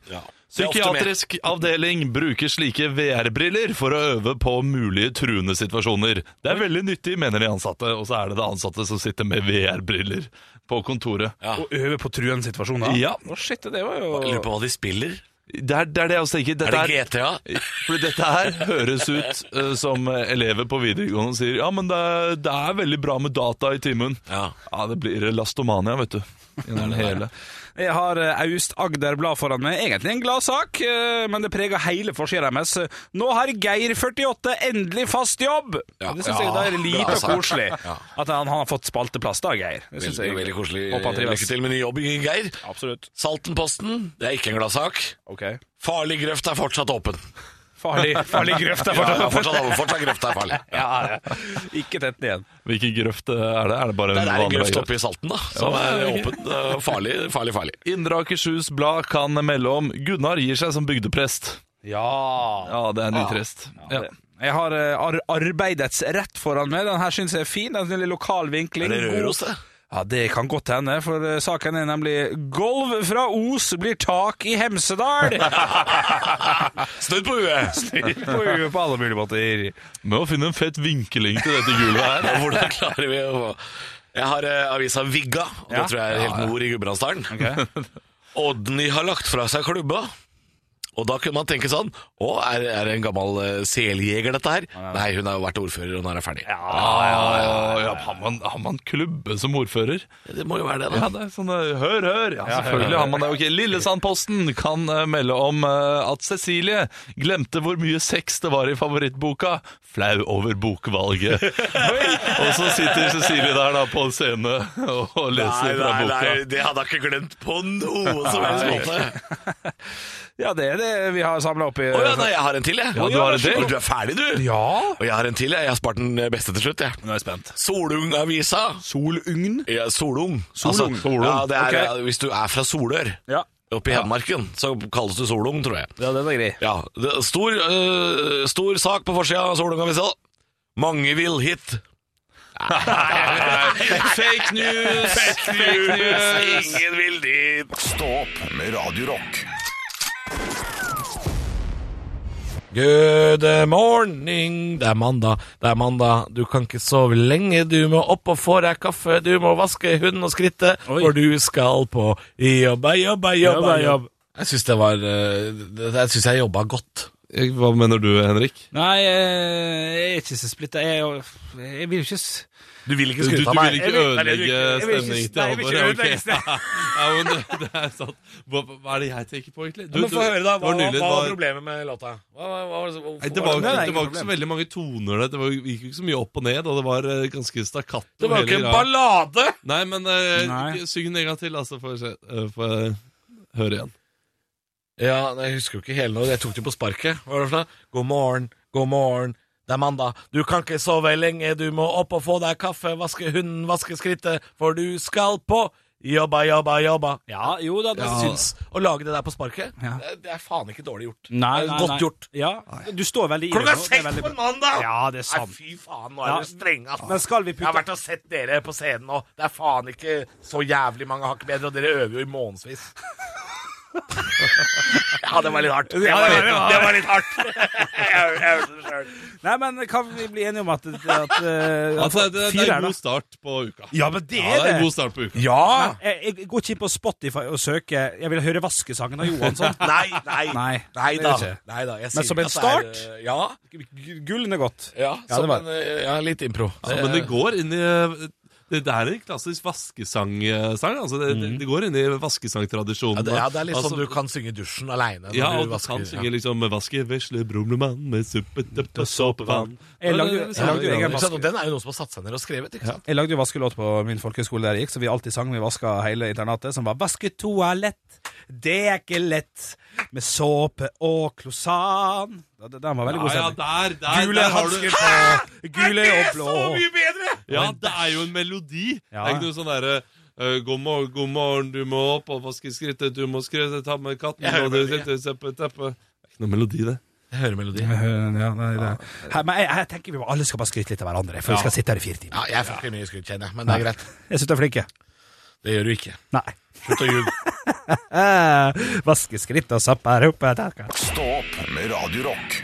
B: Psykiatrisk avdeling bruker slike VR-briller for å øve på mulige truende situasjoner. Det er veldig nyttig, mener de ansatte, og så er det det ansatte som sitter med VR-briller på kontoret.
C: Og øve på truende situasjoner.
B: Ja.
C: Å, shit, det var jo
D: Jeg lurer på hva de spiller.
B: Det er det, er det jeg også tenker. Dette
D: Er det GTA?
B: For dette her høres ut eh, som elever på videregående sier Ja, men det er, det er veldig bra med data i timen.
D: Ja.
B: Ja, det blir lastomania, vet du. Gjennom hele.
C: Jeg har eh, Aust Agder Blad foran meg. Egentlig en glad sak, eh, men det preger hele forsida deres. Nå har Geir 48 endelig fast jobb!
D: Ja.
C: Det syns
D: Ja,
C: jeg da er
D: bra
C: lite
D: sak.
C: koselig.
D: Ja.
C: At han, han har fått spalteplass, da, Geir. Det synes
D: Veldig,
C: jeg-
D: veldig koselig.
C: Håper han trives.
D: Lykke til med ny jobb, Geir.
C: Absolutt.
D: Saltenposten, det er ikke en glad sak.
C: Ok.
D: Farlig grøft er fortsatt åpen.
C: Farlig, farlig grøft er fortsatt
D: Ja, fortsatt, åpen. fortsatt grøft er farlig.
C: ja, ja. Ikke tett ned igjen.
B: Hvilken grøft eh, er det? Er det bare
D: Det
B: en
D: er en
B: vanlig
D: grøft
B: grøft?
D: oppe i Salten, da, som er åpen. eh, Farlig, farlig, farlig.
B: Indre Akershus Blad kan melde om Gunnar gir seg som bygdeprest.
C: Ja.
B: Ja, det er nitrist. Ja.
C: Jeg har eh, ar Arbeidets rett foran meg. Den her syns jeg er fin. Den er litt lokal vinkling.
D: Er det
C: God-
D: Røros, det?
C: Ja, Det kan godt hende, for eh, saken er nemlig Golv fra Os blir tak i Hemsedal!
D: Snudd på huet!
C: på huet på alle mulige måter.
B: Med å finne en fett vinkeling til dette gulvet her.
D: Og hvordan klarer vi å Jeg har eh, avisa Vigga, og det tror jeg er helt nord i Gudbrandsdalen. Odny har lagt fra seg klubba. Og da kunne man tenke sånn Å, er, er det en gammel eh, seljeger, dette her? Nei, hun har jo vært ordfører, og nå er hun ferdig.
B: Ja, ja, har, man, har man klubbe som ordfører?
D: Det må jo være det,
B: Ja,
D: da.
B: det er sånn eh, Hør, hør! Ja, selvfølgelig har man det. Ok, Lillesandposten kan eh, melde om eh, at Cecilie glemte hvor mye sex det var i favorittboka. Flau over bokvalget. og så sitter Cecilie der da på en scene og, og leser fra boka.
D: det hadde jeg ikke glemt på noe som helst måte.
C: Ja, det er det vi har samla opp i.
D: Å ja, nei, jeg har en til, jeg.
B: Ja, du har en til.
D: Og Du er ferdig, du?
C: Ja.
D: Og jeg har en til, jeg. Jeg har spart den eh, beste til slutt, jeg.
C: Nå er jeg spent.
D: Solung-avisa.
C: Solugn?
D: Ja, Solung. Altså,
B: Solung. Solung.
D: Ja, det er,
C: Ok.
D: ja, hvis du er fra Solør,
C: Ja.
D: oppe i Hedmarken, så kalles du Solung, tror jeg.
C: ja, den er grei.
D: Ja, det, er stor, øh, stor sak på forsida av Solung-avisa. Mange vil hit.
B: Fake news!
D: Ingen vil dit.
H: Stå opp med Radio Rock.
F: Good morning, det er mandag, det er mandag. Du kan ikke sove lenge, du må opp og få deg kaffe. Du må vaske hunden og skrittet, for du skal på jobba, jobba, jobba, jobb. Jeg syns det var eh, det- Jeg syns jeg jobba godt.
B: Eh, Hva mener du, Henrik?
E: Nei, eh, jeg er ikke så splitta. Jeg, jeg vil jo ikke s-
F: Du vil ikke
B: Du, du
F: skryte av
B: vil
F: meg.
B: ikke ødelegge stemningen til
E: nei, jeg vil
B: Halvor?
E: ikke
B: ja,
E: ødelegge
B: ok. ja, men det, det er sant. Hva, hva er det jeg tenker på, egentlig? Du-
F: Men få
B: du-
F: høre, da.
B: det
F: Hva hva
B: nylig-
F: var
B: det
F: problemet med låta? Hva, hva, hva, hvorfor
B: Nei, det
F: var
B: var,
F: det-
B: ikke, det var ikke så veldig mange toner der. Det var, gikk jo ikke så mye opp og ned, og det var eh, ganske stakkato.
F: det var jo
B: hele
F: ikke en
B: greia.
F: ballade!
B: Nei, men eh,
C: Nei.
B: ikke- syng den en gang til, altså, får jeg se. eh, får jeg høre igjen.
F: Ja, nei, jeg husker jo ikke hele nå. Jeg tok det på sparket. Hva var det for noe? God morgen, god morgen. Det er mandag. Du kan ikke sove lenge. Du må opp og få deg kaffe, vaske hunden, vaske skrittet, for du skal på
D: Jobba, jobba, jobba.
I: Ja, jo da.
D: Jeg syns Å lage det der på sparket,
I: Ja.
D: det, det er faen ikke dårlig gjort.
I: Nei, nei,
D: Godt
I: nei.
D: gjort.
I: Ja, du står veldig i det
D: Klokka
I: nå, det er
D: seks
I: veldig bra.
D: på en mandag!
I: Ja, det er
D: Nei,
I: sant.
D: fy faen, nå er
I: Ja.
D: dere strenge, ass.
C: Men skal vi
D: Jeg har
C: putte
D: vært og sett dere på scenen nå. Det er faen ikke så jævlig mange hakk bedre, og dere øver jo i månedsvis. Ja, det var litt hardt. Det var litt, det var litt hardt. Jeg, jeg hørte det sjøl.
C: Nei, men kan vi bli enige om at, at, at eh,
B: Altså, det, det er
C: fire
B: en
C: er
B: god
C: det?
B: start på uka.
C: Ja, men det
B: Ja, det
C: er
B: er en
C: det.
B: god start på uka.
D: Ja!
C: Eh, Jeg, jeg går ikke inn på Spotify og søker Jeg vil høre vaskesangen av sånn. Johansson.
D: Nei, nei.
C: Nei,
D: Nei
C: det
D: da.
C: gjør ikke.
D: Nei da. Jeg
C: Men
D: sier
C: som en
D: ikke at det er,
C: start?
D: eh, Ja.
C: Gu- Gullende godt.
D: Ja,
C: det
D: som
C: var-
D: en, eh, ja, litt impro.
B: Ja, Altså, men det går inn i det, det er en klassisk vaskesangsang. Altså det,
C: Mhm.
B: det- det går inn i vaskesangtradisjonen.
D: Ja, det, ja, det er litt
B: Altså,
D: sånn du kan synge i dusjen aleine.
B: ja, og du kan synge liksom 'Vaske vesle brumlemann med suppetuppe såpevann'.
C: Jeg lagde,
B: Ja, det-
C: jeg
B: det-
C: lagde jo egen
D: Ikke sant? Og
C: vaske.
D: den er jo noen som har satt seg ned og skrevet. ikke sant?
C: Jeg lagde jo vaskelåt på min folkehøyskole der jeg gikk, så vi alltid sang vi vaska hele internatet, som var 'Vaske toalett, det er ikke lett', med såpe og klosan. Ja, Den var veldig god
B: Ja, ja,
C: stemning.
B: der, der,
C: Gule
B: der har du
C: hansker på, gule og blå.
B: Ja, det er jo en melodi.
C: Ja.
B: Det er ikke noe sånn derre eh, god, morgen, god morgen, du må opp og vaske skrittet, du må skrittet, ta med katten og du sitter seppe, teppe. Det er ikke noe melodi, det.
D: Jeg hører melodi.
C: Ja, nei, det. Her, men jeg, jeg tenker vi må alle skal bare skryte litt av hverandre, for vi skal sitte her i fire timer.
D: Ja, jeg får ikke mye skryt, kjenner jeg, men det er greit.
C: Jeg syns du er flinke.
D: Det gjør du ikke.
C: Nei.
D: Slutt å ljuge.
C: Eh, Vaskeskritt og sapper opp et tak.
H: Stå opp med Radio Rock.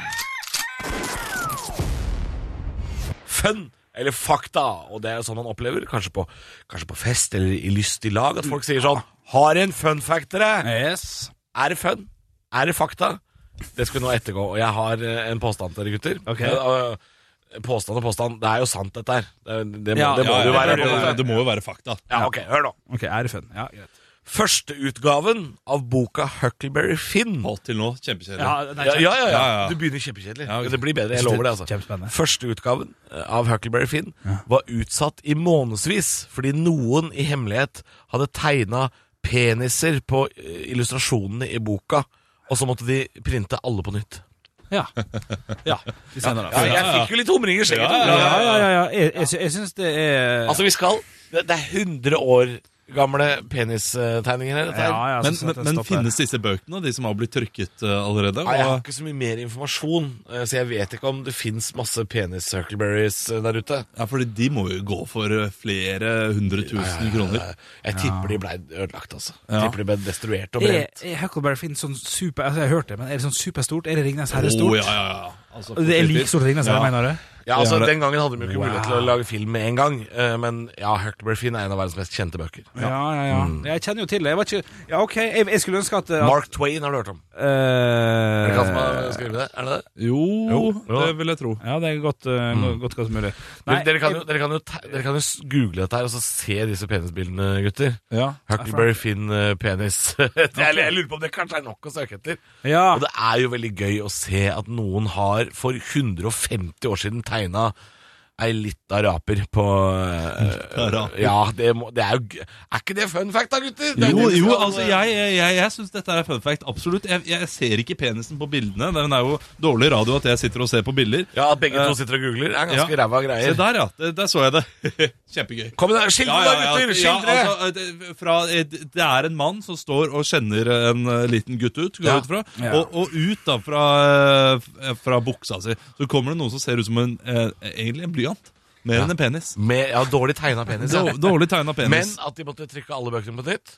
D: Fun eller fakta, og det er jo sånn man opplever, kanskje på, kanskje på fest eller i lystig lag, at folk sier sånn Har en fun fact, dere?
C: Yes.
D: Er det fun? Er det fakta? Det skal vi nå ettergå, og jeg har eh, en påstand til dere, gutter.
C: Ok.
D: Eh, eh, Påstand og påstand, det er jo sant, dette her. Det, det, må-
C: Ja,
D: det må
B: Ja,
D: det jo
B: ja,
D: være.
B: det, det, det må jo være fakta.
D: Ja, ok, hør nå.
C: Ok, er det fun? Ja, greit.
D: Førsteutgaven av boka Huckleberry Finn
B: Å, til nå, kjempekjedelig.
C: altså,
D: Ja, ja, ja, ja.
B: Ja, ja.
D: Du begynner kjempekjedelig.
B: Ja, ok.
D: Det blir bedre, jeg lover det. altså
C: Kjempespennende.
D: Førsteutgaven av Huckleberry Finn var utsatt i månedsvis fordi noen i hemmelighet hadde tegna peniser på eh, illustrasjonene i boka, og så måtte de printe alle på nytt.
C: Ja. ja. Vi sender
D: Ja,
C: det.
D: jeg fikk jo litt humring i skjegget.
C: Ja,
D: Tore.
C: ja, ja. ja, ja. Jeg, jeg, sy- jeg syns det er
D: Altså, vi skal Det det er 100 år gamle penistegninger her. Dette. her.
C: Ja, ja, jeg
B: Men,
C: syns at
B: men,
C: det
B: men
C: stopper.
B: finnes disse bøkene, de som har blitt trykket eh, allerede?
D: Nei, jeg har
B: Og,
D: ikke så mye mer informasjon, eh, så jeg vet ikke om det fins masse penis-huckleberries eh, der ute.
B: ja, fordi de må jo gå for eh, flere hundre tusen kroner.
D: Jeg tipper de ble ødelagt, altså. Jeg
B: Ja.
D: tipper de ble destruert og
C: Er,
D: brent.
C: er Huckleberry Finn sånn super Altså, jeg har hørt det, men er det sånn superstort? Er det Ringnes Herre
B: Å,
C: stort?
B: ja, ja, ja. Altså,
C: Det er like stort som Ringnes Herre,
B: Ja.
C: mener du?
D: Ja, altså,
B: Ja, det-
D: Den gangen hadde de jo ikke mulighet til å lage film med en gang, eh, men ja, Huckleberry Finn er en av verdens mest kjente bøker.
C: Ja, ja, ja. Jeg kjenner jo til det. Jeg var ikke Ja, OK, jeg, jeg skulle ønske at, eh, at
D: Mark Twain har du hørt om. Er det han som har
C: eh,
D: skrevet det? Er det det?
B: Jo,
D: ja.
B: det vil jeg tro.
C: Ja, det er godt, eh, godt, godt, godt mulig. Nei,
D: dere, dere, kan jo, dere, kan jo, te- dere kan jo s- google dette her og så se disse penisbildene, gutter.
C: Ja.
D: Huckleberry Finn-penis. eh, jeg, jeg lurer på om det kanskje er nok å søke etter.
C: Ja.
D: Og det er jo veldig gøy å se at noen har for 150 år siden tegna ei lita raper på eh,
B: raper.
D: Ja, det, må, det er jo gøy. Er ikke det fun fact, da, gutter? Det er
B: Jo,
D: det vi
B: jo,
D: skal-
B: altså jeg, jeg, jeg syns dette er fun fact. Absolutt. Jeg, jeg ser ikke penisen på bildene. Den er jo dårlig radio at jeg sitter og ser på bilder.
D: Ja, at begge to sitter og googler, er ganske
B: Eh, ja.
D: ræva
B: Se
D: greier.
B: der, ja. Der, der så jeg det. Kjempegøy.
D: Kom igjen, skildre da, gutter!
B: ja,
D: Skildre!
B: altså, det, fra, det er en mann som står og kjenner en eh, liten gutt ut, går jeg ut fra, og, og ut da fra, eh, fra buksa si, så kommer det noe som ser ut som en, eh, egentlig en blyant, mer enn en penis.
D: Med ja, dårlig tegna penis. Ja.
B: Dår- Dårlig tegnet
D: Men
B: penis.
D: at de måtte trykke alle bøkene på nytt.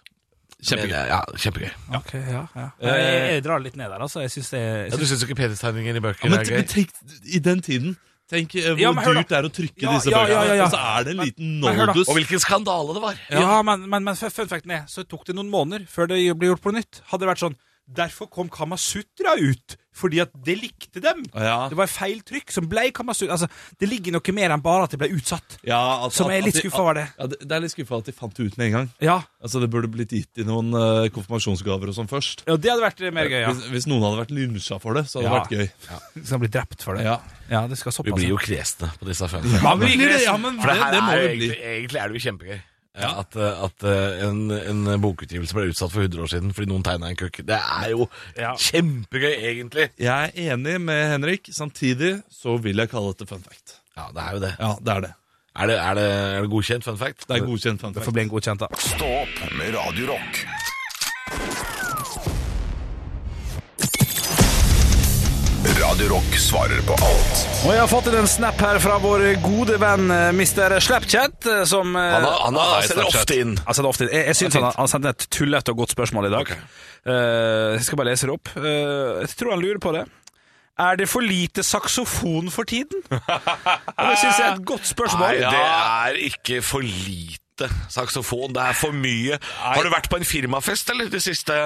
B: Kjempegøy.
D: Men, eh, Ja, kjempegøy.
C: Ok, ja, ja. Jeg, jeg drar litt ned der, altså. Jeg syns det jeg
D: Ja,
C: synes-
D: du syns ikke penistegninger i bøker
B: Ja, men
D: er
B: men
D: gøy?
B: tenk, i den tiden Tenk eh, hvor
C: Ja, men hør da.
B: dyrt det er å trykke
C: Ja,
B: disse
C: ja,
B: bøkene.
C: ja, ja, ja.
B: Og så er det en liten
C: men hør da.
B: nådus.
D: Og hvilken skandale det var!
C: Ja, men, men, men fun fun facten er Så tok det noen måneder før det ble gjort på nytt Hadde det vært sånn Derfor kom Kamasutra ut Fordi at det likte dem
B: Ja,
C: Det var feil trykk som ble Kamasutra Altså, det ligger noe mer enn bare at det ble utsatt
B: ja, at-
C: Som
B: at-
C: er litt
B: at de-
C: skuffet over det
B: Ja, det, det er litt skuffa at de fant det ut med en gang.
C: Ja,
B: Altså Det burde blitt gitt i noen eh, konfirmasjonsgaver og sånn først.
C: ja det hadde vært mer gøy, ja
B: hvis, hvis noen hadde vært lynsja for det, så hadde det
C: Ja.
B: vært gøy.
C: Som blir drept for det
B: Ja.
C: Ja, det skal såpass
D: Vi blir jo kresne på disse fønene.
C: Man blir
B: Blir det,
C: kresne.
B: ja, men
D: For
B: det,
D: det her
B: det må
D: er jo
B: det bli.
D: egentlig, egentlig er det jo kjempegøy.
B: Ja.
D: At, eh, at eh, en, en bokutgivelse ble utsatt for 100 år siden fordi noen tegna en kukk. Det er jo kjempegøy, egentlig.
B: Jeg er enig med Henrik. Samtidig så vil jeg kalle dette fun fact.
D: Ja, det er jo det.
B: Ja, det er det.
J: Er det, er det, er det godkjent fun fact?
K: Det er godkjent fun
C: Får
K: fact.
C: bli en godkjent, da.
H: Stå opp med Radio Rock. Radio Rock svarer på alt.
C: Og jeg har fått inn en snap her fra vår gode venn eh, Mr. Slapchat, eh, som eh,
J: Han, har- han, har-
K: Ah,
J: sender
K: Snapchat.
J: ofte inn.
C: Altså, det er ofte, jeg, jeg synes han, har- han sendte et tullete og godt spørsmål i dag. Eh, jeg skal bare lese det opp. Eh, jeg tror han lurer på det. Er det for lite saksofon for tiden? Og det synes jeg er et godt spørsmål.
J: Nei, det er ikke for lite saksofon. Det er for mye. Har du vært på en firmafest eller de siste,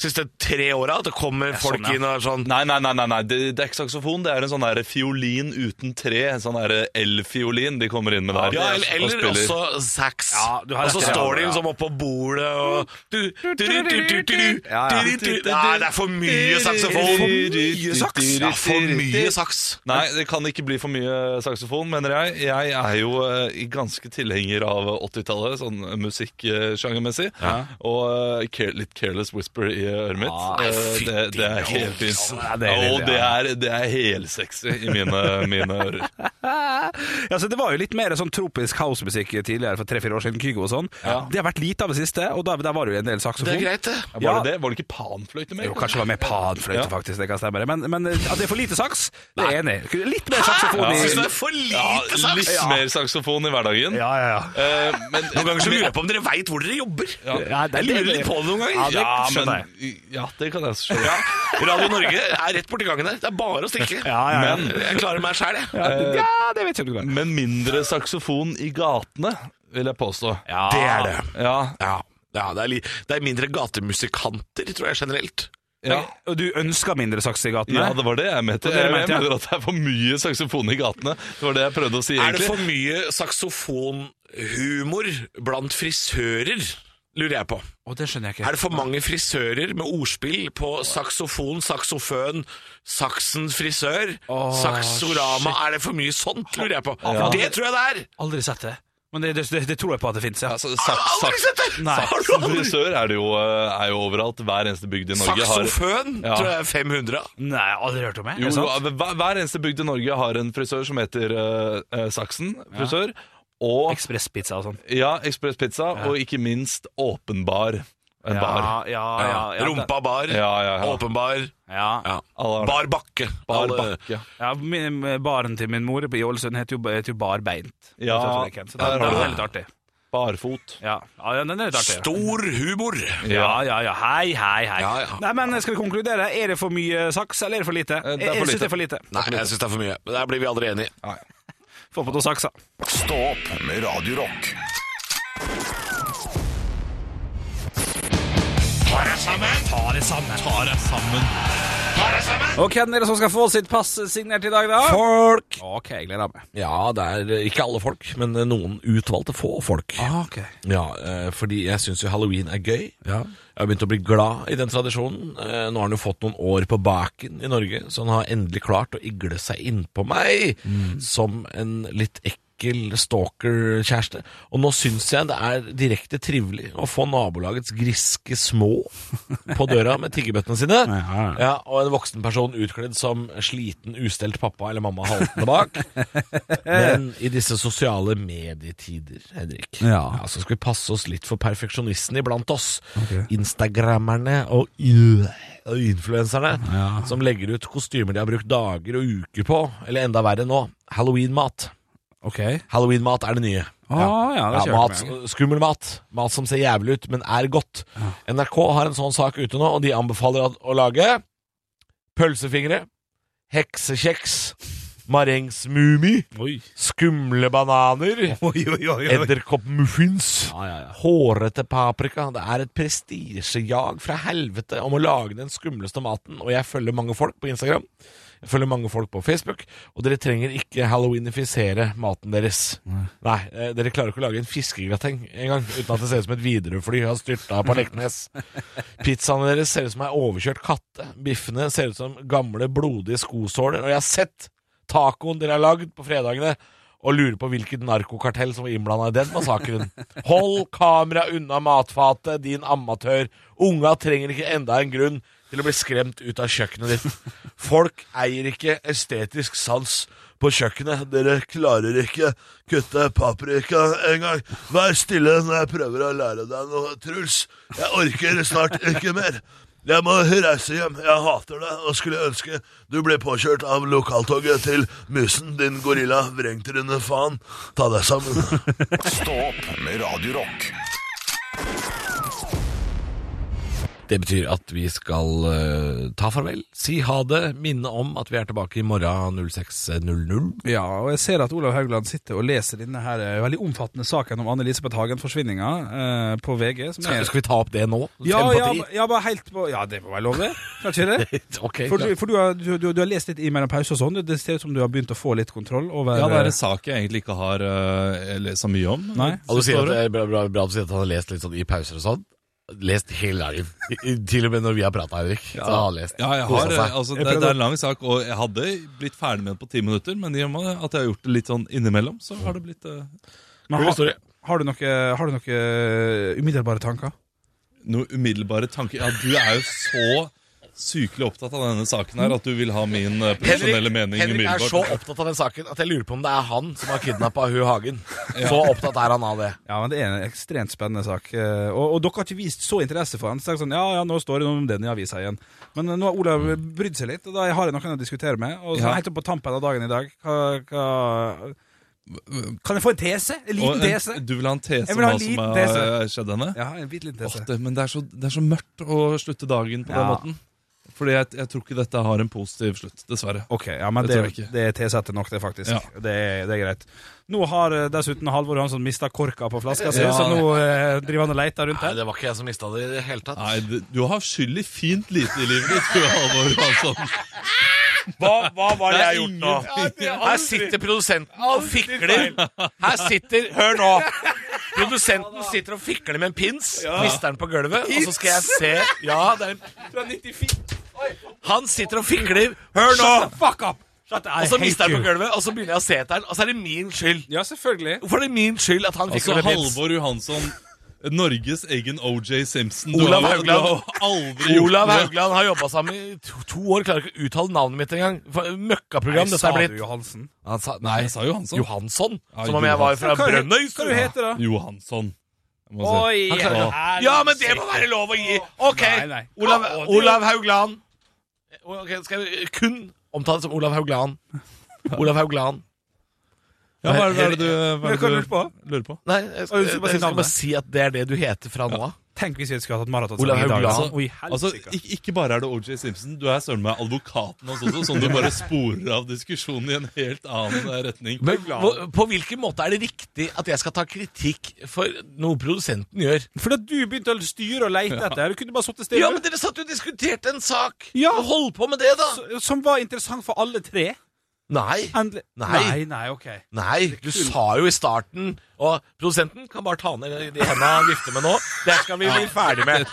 J: siste tre åra? At det kommer folk
C: sånn, ja.
J: inn og er sånn
B: Nei, nei, nei, nei, nei. Det, det er ikke saksofon. Det er en sånn der fiolin uten tre. En sånn der elfiolin de kommer inn med der.
J: Ja, eller,
B: og
J: eller
B: spiller.
J: også sax.
C: Ja, du har
J: og så
C: rett i det.
J: står de liksom oppå bordet og du, du, du, du, du, du, du.
C: Ja, ja.
J: Nei, det er for mye saksofon.
B: mye saks?
J: Ja, for mye saks.
B: Nei, det kan ikke bli for mye saksofon, mener jeg. Jeg er jo eh, ganske tilhenger av 80-tallet, sånn musikksjangermessig. Og eh, care, litt Careless Whisper i øret mitt.
C: Ah,
B: Eh, det, det er helt fint.
C: Ja, det er det,
B: og det er, det er helsexy i mine, mine ører.
C: Ja, så det var jo litt mer sånn tropisk housemusikk tidligere, for tre-fire år siden, Kygo og sånn. Det har vært lite av det siste, og da, der var det jo en del saksofon.
J: Det er greit, det.
B: Var
C: Ja.
B: det det? Var det ikke panfløyte med?
C: Jo, kanskje det var mer panfløyte,
B: Ja.
C: faktisk. Det kan stemme. det. Men, men at det er for lite saks, det er jeg enig. i. Litt mer saksofon
B: Ja.
C: i
J: Syns du det er for lite saks?
B: Ja, litt mer saksofon i hverdagen.
C: Ja, ja, ja.
B: Eh, men,
J: Noen ganger så lurer jeg på om dere veit hvor dere jobber.
C: Ja, det er
J: Jeg lurer litt på det noen ganger.
C: Ja, det skjønner
B: men, ja, det kan jeg skjønne.
J: Ja, Radio Norge er rett borti gangen der. Det er bare å stikke.
C: ja, ja.
J: Men jeg klarer meg sjæl, jeg.
C: Eh, Ja, det vet jeg om du kan.
B: Men mindre saksofon i gatene, vil jeg påstå. Ja.
J: Det er det.
B: Ja,
J: Ja, ja det, er li det er mindre gatemusikanter, tror jeg, generelt.
C: Og du ønsker mindre saks i gatene?
B: det var det jeg mente.
C: Det var det
B: Jeg
C: du mente, ja.
B: mener at det er for mye saksofon i gatene. Det var det jeg prøvde å
J: Er
B: si,
J: det
B: egentlig.
J: for mye saksofonhumor blant frisører? Lurer jeg på.
C: Å, det skjønner jeg ikke.
J: Er det for mange frisører med ordspill på saksofon, saksoføn, saksen frisør, saksorama? Er det for mye sånt, lurer jeg på? For det tror jeg det er!
C: Aldri sett det. Men det, det, det, det tror jeg på at det fins, ja. Ah,
J: Har
B: Altså,
J: du
B: saks,
J: aldri
B: saks,
J: sett det?
C: Nei.
J: Har du aldri?
B: saksofrisør er det jo, eh, er jo overalt. Hver eneste bygd i Norge har
J: Saksoføn
B: Ja.
J: tror jeg er 500 av.
C: Nei, aldri hørt om det. Er
B: jo,
C: det
B: jo,
C: sant?
B: hver, hver eneste bygd i Norge har en frisør som heter eh, eh, Saksen frisør. Og
C: Ekspresspizza og sånn.
B: ja, Ekspress Pizza, og ikke minst Åpenbar. En bar.
C: ja,
J: Rumpa bar,
B: Ja, ja, ja.
J: åpenbar,
C: Ja,
J: ja.
B: Alle har det.
J: bar bakke.
B: Bar
J: Alle-
B: bakke.
C: ja min, Baren til min mor i Ålesund heter jo, heter jo Barbeint.
B: Ja,
C: Så det
B: der har
C: er
B: du det.
C: litt artig.
B: Barfot.
C: Ja, ja den er litt artig.
J: Stor humor.
C: Ja, ja, ja. Hei, hei, hei.
J: Ja, ja.
C: Nei, men Skal vi konkludere? Er det for mye saks, eller er det for lite?
B: Eh, det er
C: Jeg-
B: for
C: jeg synes
B: lite.
C: det er for lite.
J: Nei, jeg syns det er for mye. Men Der blir vi aldri enige.
C: Få på noe saks, da.
H: Stå opp med Radio Rock.
C: Og hvem er det som skal få sitt pass signert i dag, da?
D: Folk!
C: Ok, jeg gleder meg.
D: Ja, det er eh, ikke alle folk, men eh, noen utvalgte få folk.
C: ok.
D: Ja, eh, fordi jeg syns jo halloween er gøy. Jeg har begynt å bli glad i den tradisjonen. Eh, Nå har han jo fått noen år på baken i Norge, så han har endelig klart å igle seg innpå meg som en litt ekkel stalker-kjæreste. Og nå syns jeg det er direkte trivelig å få nabolagets griske små på døra med tiggerbøttene sine, ja, og en voksen person utkledd som sliten, ustelt pappa eller mamma haltende bak. Men i disse sosiale medietider, Henrik, ja, så skal vi passe oss litt for perfeksjonistene iblant oss. Instagrammerne og, og influenserne som legger ut kostymer de har brukt dager og uker på, eller enda verre nå, halloween-mat.
C: Ok.
D: Halloween-mat er det nye.
C: Ah, ja, det kjørte
D: mat,
C: vi.
D: skummel mat. Mat som ser jævlig ut, men er godt. NRK har en sånn sak ute nå, og de anbefaler at- å lage pølsefingre, heksekjeks, marengsmumi, skumle bananer, edderkoppmuffins, hårete paprika. Det er et prestisjejag fra helvete om å lage den skumleste maten, og jeg følger mange folk på Instagram. Jeg følger mange folk på Facebook, og dere trenger ikke halloweenifisere maten deres. Nei, eh, Dere klarer ikke å lage en fiskegrateng engang uten at det ser ut som et Widerøe-fly har styrta på Leknes. Pizzaene deres ser ut som ei overkjørt katte. Biffene ser ut som gamle, blodige skosåler. Og jeg har sett tacoen dere har lagd på fredagene, og lurer på hvilket narkokartell som var innblanda i den massakren. Hold kamera unna matfatet, din amatør. Unga trenger ikke enda en grunn til å bli skremt ut av kjøkkenet ditt. Folk eier ikke estetisk sans på kjøkkenet. Dere klarer ikke kutte paprika engang. Vær stille når jeg prøver å lære deg noe, Truls. Jeg orker snart ikke mer. Jeg må reise hjem. Jeg hater deg og skulle ønske du ble påkjørt av lokaltoget til Musen, din gorilla, vrengtryne faen. Ta deg sammen.
H: Stå opp med Radio Rock.
L: Det betyr at vi skal eh, ta farvel, si ha det, minne om at vi er tilbake i morgen 06.00.
C: Ja, og jeg ser at Olav Haugland sitter og leser denne her eh, veldig omfattende saken om Anne-Elisabeth Hagen-forsvinninga eh, på VG. Som
L: Skal,
C: er,
L: skal vi ta opp det nå?
C: ja,
L: Fem på
C: ja,
L: ti?
C: ja, bare helt på Ja, det må være lov, det? Kan ikke det?
L: Ok,
C: For,
L: klart.
C: du, for du, har, du, du, du har lest litt i mellom pause og sånn. Det ser ut som du har begynt å få litt kontroll over eh,
B: Ja, det er en sak jeg egentlig ikke har eh, lest så mye om.
C: Nei.
L: Og du sier at det er bra, bra, bra at du sier at han har lest litt sånn i pauser og sånn. Lest hele dagen. I- i- Til og med når vi har prata, Henrik. Så har han lest.
B: Ja, jeg
L: Kosa
B: har,
L: seg.
B: altså, det, det er en lang sak, og jeg hadde blitt ferdig med den på ti minutter, men i og med at jeg har gjort det litt sånn innimellom, så har det blitt eh,
C: Men har, har du noen noe eh, umiddelbare tanker?
B: noe umiddelbare tanker. Ja, du er jo så sykelig opptatt av denne saken her at du vil ha min eh, profesjonelle mening
L: Henrik er så
B: umiddelbart.
L: opptatt av den saken at jeg lurer på om det er han som har kidnappa Hu Hagen. Så opptatt er han av det.
C: Ja, men Det er en ekstremt spennende sak. eh, Og, og dere har ikke vist så interesse for den. Så det er sånn, ja, ja, nå står det noe om den i avisa igjen. Men eh, nå har Olav brydd seg litt, og da har jeg noen å diskutere med. Og så
B: Ja.
C: helt opp på tampen av dagen i dag hva, hva... Kan jeg få en tese? En
B: Og
C: liten
B: en-
C: tese?
B: Du vil ha en tese
C: Jeg
B: om
C: vil ha
B: hva
C: en
B: som
C: liten
B: har
C: tese.
B: eh, skjedd henne?
C: Ja, en bitte liten
B: Åh,
C: tese.
B: det, men det er, så, det er så mørkt å slutte dagen på den
C: Ja.
B: måten. Fordi jeg, jeg tror ikke dette har en positiv slutt, dessverre.
C: Ok, ja, men
B: Det
C: det,
B: tror jeg ikke.
C: det er tesetter nok, det, faktisk.
B: Ja.
C: Det, er, det er greit. Nå har eh, dessuten Halvor Johansson mista korka på flaska si,
B: Ja.
C: så nå eh, driver han og leter rundt
L: Nei,
C: her.
L: det var ikke jeg som mista det i det hele tatt.
B: Nei, det- du har skyld i fint lite i livet ditt, du, Halvor Johansson.
D: Hva, hva var det jeg har gjort nå?
B: Ingen-
D: Her sitter produsenten og fikler. Her sitter Hør nå. Produsenten sitter og fikler med en pins. Mister den på gulvet, og så skal jeg se Ja, det er en Han sitter og fikler. Hør nå!
M: Fuck up! Shut up.
D: Og så mister han på gulvet, og så begynner jeg å se etter den, og så er det min skyld.
C: Ja, selvfølgelig.
D: Hvorfor er det min skyld at han
B: Altså,
D: fikler med pins?
B: Halvor Johansson, Norges egen OJ Simpson.
D: Olav
B: du har,
D: Haugland.
B: Du har aldri gjort
D: Olav
B: noe.
D: Haugland har jobba sammen i to, to år, klarer ikke å uttale navnet mitt engang. For- Møkkaprogram dette
C: Sa
D: er
C: du
D: blitt.
C: Johansen?
D: Han sa, nei,
B: Jeg sa Johansson.
D: Johansson.
B: Ja,
D: Som om jeg var fra
C: Hva er det-
D: Brønnøysund.
C: Hva er det du heter da?
B: Johansson. Jeg må si.
C: Oi, herre-
D: Ja, men det må være lov å gi! Ok,
C: Nei, nei.
D: Olav,
C: Å, det-
D: Olav Haugland. Ok, skal jeg kun omtale som Olav Haugland. Olav Haugland.
B: Ja, hva er det- hva er det du, hva er
C: Men Hva
B: det
C: lurer du
B: du
C: på?
B: lurer på?
D: Nei, jeg skal,
C: Å, du skal
D: jeg
C: bare si
D: skal
C: navnet.
D: bare si at det er det du heter fra nå av.
C: Tenk hvis vi skulle hatt maraton
D: Olav
C: sammen i dag.
D: Haugland.
C: altså. Oi, helsike.
B: Altså, ik- ikke bare er det OJ Simpson, du er søren meg advokaten hans også, som du bare sporer av diskusjonen i en helt annen eh, retning.
D: Men hvor- på hvilken måte er det riktig at jeg skal ta kritikk for noe produsenten gjør?
C: Fordi at du begynte å styre og leite etter. Du kunne bare sittet stille.
D: Ja, men dere satt jo og diskuterte en sak!
C: Ja.
D: Hold på med det, da!
C: S- Som var interessant for alle tre.
D: Nei.
C: Endelig.
D: Nei.
C: nei, nei, ok.
D: Nei, du sa jo i starten Og produsenten kan bare ta ned de hendene han vifter med nå. Det skal vi bli ferdig med.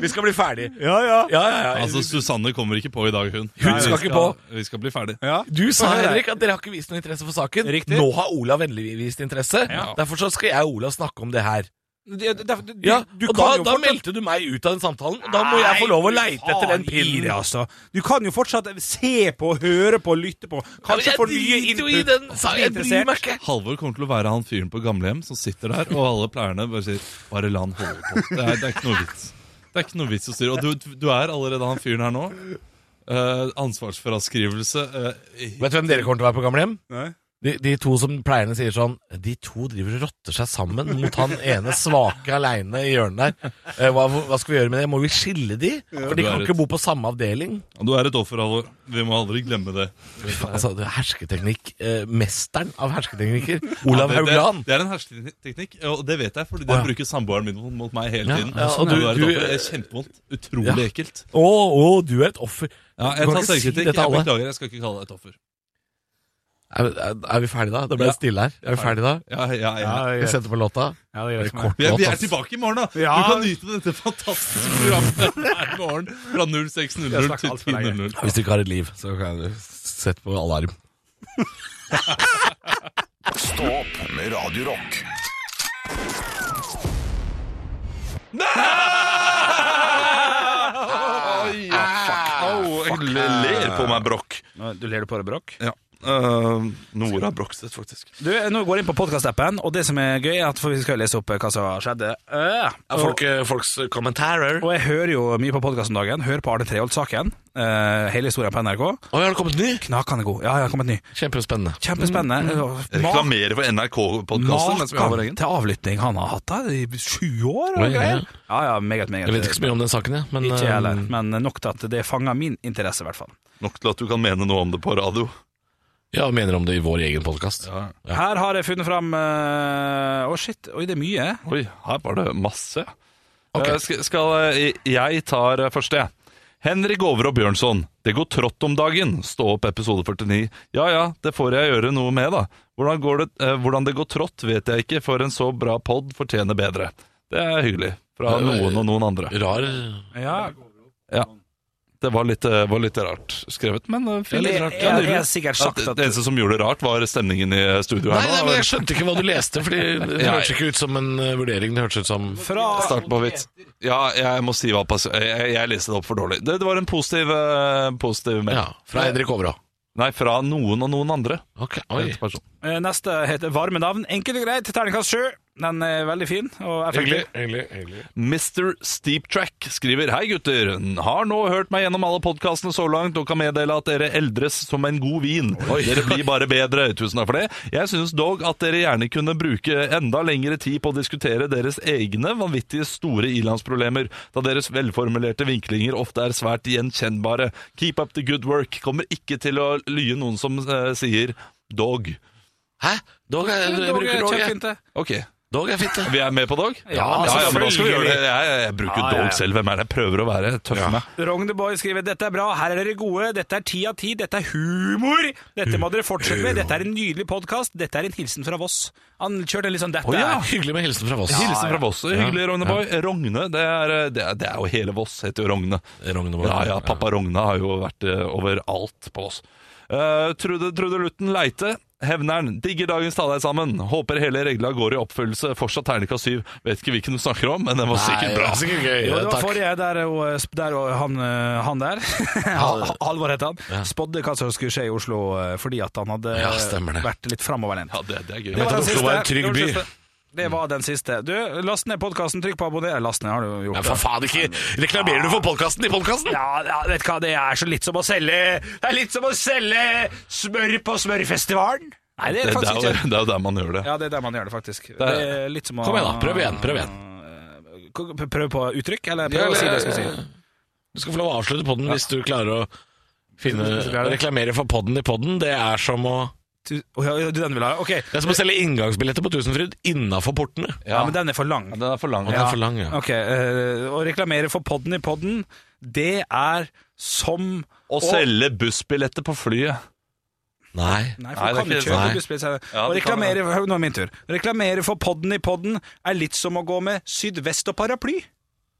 D: Vi skal bli ferdig.
C: Ja, ja.
D: Ja, ja, ja.
B: Altså, Susanne kommer ikke på i dag, hun.
D: skal
B: Vi
D: ikke på.
B: Vi skal bli ferdig.
D: du sa
C: Hør her.
D: Henrik at dere har ikke vist noe interesse for saken.
C: Riktig.
D: Nå har Olav endelig vist interesse. Derfor så skal jeg og Olav snakke om det her.
C: Det- det- det- Du,
D: Ja,
C: du
D: og da,
C: kan jo
D: da
C: fortsatt-
D: meldte du meg ut av den samtalen. Og da må jeg få lov å
C: Nei,
D: leite etter den
C: faen i
D: pinnen.
C: det, altså. Du kan jo fortsatt se på, høre på, lytte på. Kanskje
D: jeg
C: få nye
D: driter jo i
C: input.
D: den,
C: og
D: sa
C: bli
D: jeg. Jeg bryr
C: interessert.
D: meg ikke.
B: Halvor kommer til å være han fyren på gamlehjem som sitter der, og alle pleierne bare sier 'bare la han holde på'. Det er, det er ikke noe vits. Det er ikke noe vits å styre. Og du, du er allerede han fyren her nå. Eh, ansvarsfraskrivelse eh,
D: Vet du hvem dere kommer til å være på gamlehjem?
C: Nei.
D: De, de to som pleierne sier sånn De to driver og rotter seg sammen mot han ene svake aleine i hjørnet der. Eh, hva, hva skal vi gjøre med det? Må vi skille de? For
B: Du
D: de
B: er
D: kan
B: et-
D: ikke bo på samme avdeling.
B: Du er et offer, Halvor. Vi må aldri glemme det.
D: Altså, det er Hersketeknikk. Eh, mesteren av hersketeknikker. Olav
B: det, det,
D: Haugland.
B: det er en hersketeknikk, og det vet jeg, fordi den
D: Å, ja.
B: bruker samboeren min mot- mot meg hele
D: Ja,
B: tiden.
D: ja, og
B: du,
D: du-
B: er et
D: du-
B: offer. Det er kjempevondt. Utrolig
D: Ja.
B: ekkelt.
D: Å, å, du er et offer.
B: Ja,
D: Du
B: jeg
D: kan
B: tar
D: ikke si
B: selvkritikk.
D: det
B: jeg
D: til alle.
B: beklager, jeg skal ikke kalle deg et offer.
D: Er, er, er vi ferdige da? Det ble
B: Ja.
D: stille her. Er vi ferdige da?
B: Ja, ja, ja.
D: Vi setter på låta.
M: Ja, det er
D: Det er
M: greit.
D: kort
B: Vi er,
D: låt,
B: vi er
D: ass.
B: tilbake i morgen, da!
M: Ja.
B: Du kan nyte dette fantastiske programmet hver morgen fra 06.00 til 10.00.
D: Hvis du ikke har et liv, så kan du sette på alarm.
H: Stå opp med Radio Rock. Ah,
B: Oi, ja. Wow, jeg ler på meg brokk.
C: Nå- Du ler du på det, Brokk?
B: Ja. Eh, Nora Brokstedt, faktisk.
C: Du, Nå går jeg inn på podkastappen, og det som er gøy, er at for vi skal jo lese opp eh, hva som skjedde. Eh,
D: Ja,
C: og,
D: folk, eh, folks kommentarer. Å,
C: og jeg hører jo mye på podkast om dagen. Hører på Arne Treholt-saken. eh, hele historien på NRK.
D: har det kommet ny?
C: Knakende god. Ja, ja, kommet ny.
D: Kjempespennende.
C: Kjempespennende. Eh, ma-
B: Reklamerer for NRK-podkasten.
C: Maken til avlytting han har hatt der i sju år
D: Oi,
C: og greier. Ja, ja, meget, meget.
D: Jeg vet ikke så mye om den saken, jeg. Men,
C: Ikke jeg heller,
D: eh,
C: men nok til at det fanger min interesse, i hvert fall.
B: Nok til at du kan mene noe om det på radio.
D: ja, mener om det i vår egen podkast.
C: Her har jeg funnet fram eh, Å, shit. Oi, det er mye.
B: Oi, her var det masse. Eh, skal, skal jeg, jeg tar eh, første, jeg. Henrik Over og Bjørnson. Det går trått om dagen. Stå opp episode 49. Ja ja, det får jeg gjøre noe med, da. Hvordan, går det, eh, hvordan det går trått, vet jeg ikke, for en så bra pod fortjener bedre. Det er hyggelig. Fra noen og noen andre.
D: Rar
C: Ja,
B: Det var litt, eh, var litt rart skrevet, men eh, fint.
C: jeg,
B: Rart.
C: jeg,
B: Ja,
C: jeg,
B: nydelig.
C: har sikkert
B: At
C: sagt
B: det,
C: at
B: det eneste som gjorde det rart, var stemningen i studio
D: Nei,
B: her
D: nei,
B: nå.
D: men jeg skjønte ikke hva du leste, Fordi det hørtes ikke ut som en eh, vurdering. Det hørtes ut som
C: fra
B: Start på vits. Ja, jeg må si hva pass... Jeg, jeg leste det opp for dårlig. Det, det var en positiv, eh, positiv melding.
D: Ja, fra Henrik Overå.
B: Nei, fra noen og noen andre.
D: Ok, oi.
B: Rett person.
C: eh, neste heter Varme navn. Enkelt og greit, terningkast sju. Den er veldig fin og effektiv.
B: Mr. Steeptrack skriver Hei gutter, har nå hørt meg gjennom alle podkastene så langt og kan meddele at dere eldres som en god vin. Dere blir bare bedre. Tusen takk for det. Jeg synes dog at dere gjerne kunne bruke enda lengre tid på å diskutere deres egne vanvittige store ilandsproblemer, da deres velformulerte vinklinger ofte er svært gjenkjennbare. Keep up the good work. Kommer ikke til å lye noen som eh, sier dog.
D: Hæ? Dog er, jeg
C: Dog er
D: bruker dog, jeg.
C: kjempefint, det.
B: Ok,
D: Dog er fint, det.
B: vi er med på dog?
C: Ja,
B: ja, men da skal vi gjøre det.
C: selvfølgelig.
B: Jeg, jeg, jeg bruker
C: Ja, ja, ja.
B: dog selv. Hvem er det jeg prøver å være? Tøff meg.
C: Rogneboy skriver Dette er bra, her er dere gode, dette er ti av ti, dette er humor! Dette må dere fortsette med, dette er en nydelig podkast, dette er en hilsen fra Voss. Han kjørte litt sånn dette
D: Det er
C: er
D: hyggelig med hilsen fra Voss.
B: Hilsen fra Voss. Hyggelig, Rogneboy. Rogne, det er, det, er, det er jo hele Voss, heter jo Rogne.
D: Rogneboy.
B: Ja, ja, pappa Rogne har jo vært eh, overalt på Voss. Eh, Trude, Trude Lutten Leite. Hevneren. Digger dagens Ta deg sammen. Håper hele regla går i oppfyllelse. Fortsatt terningkast syv. Vet ikke hvilken du snakker om, men den var sikkert bra.
D: Sikkert gøy.
C: Jo, det var
D: Takk.
C: forrige der, og, der og han, eh, han der, Hal- Halvor het han, spådde hva som skulle skje i Oslo eh, fordi at han hadde
D: Ja, stemmer det.
C: vært litt framoverlent.
B: Ja, det, det er gøy.
C: Det var den
D: Oslo var en
C: siste.
D: trygg
C: Det var den
D: by.
C: siste. Det var den siste. Du, last ned podkasten, trykk på abonner. Last ned, har du
D: Ja,
C: gjort
D: for faen ikke Reklamerer du for podkasten i podkasten?
C: Ja, ja, vet du hva, det er så litt som å selge Det er litt som å selge smør på smørfestivalen. Nei, det
B: Det,
C: er det
B: det,
C: faktisk
B: er,
C: ikke.
B: jo- det er jo der man gjør det.
C: Ja, det er der man gjør det, faktisk. Det er litt som å
D: Kom igjen, da. Prøv igjen. Prøv igjen.
C: K- Prøv på uttrykk, eller prøv å si det jeg skal si.
D: Du skal få lov å avslutte podden hvis du klarer å finne Reklamere for podden i podden. Det er som å
C: Du, å, ja, du, den vil ha, ja. Ok.
D: Det er som å selge inngangsbilletter på Tusenfryd innafor portene.
C: Ja, men den er for lang.
B: Den er for lang.
D: Og det er for lang, ja.
C: Ok, eh, Å reklamere for podden i podden, det er som
B: Å selge bussbilletter på flyet.
D: Nei.
C: Nei,
B: Nei,
C: for
B: det
C: du
B: er
C: kan
B: ikke-
C: ikke
D: nei.
C: kjøpe bussbillett.
B: Ja,
C: Å
B: det kan
C: reklamere Hør, Nå er min tur. Reklamere for podden i podden er litt som å gå med sydvest og paraply.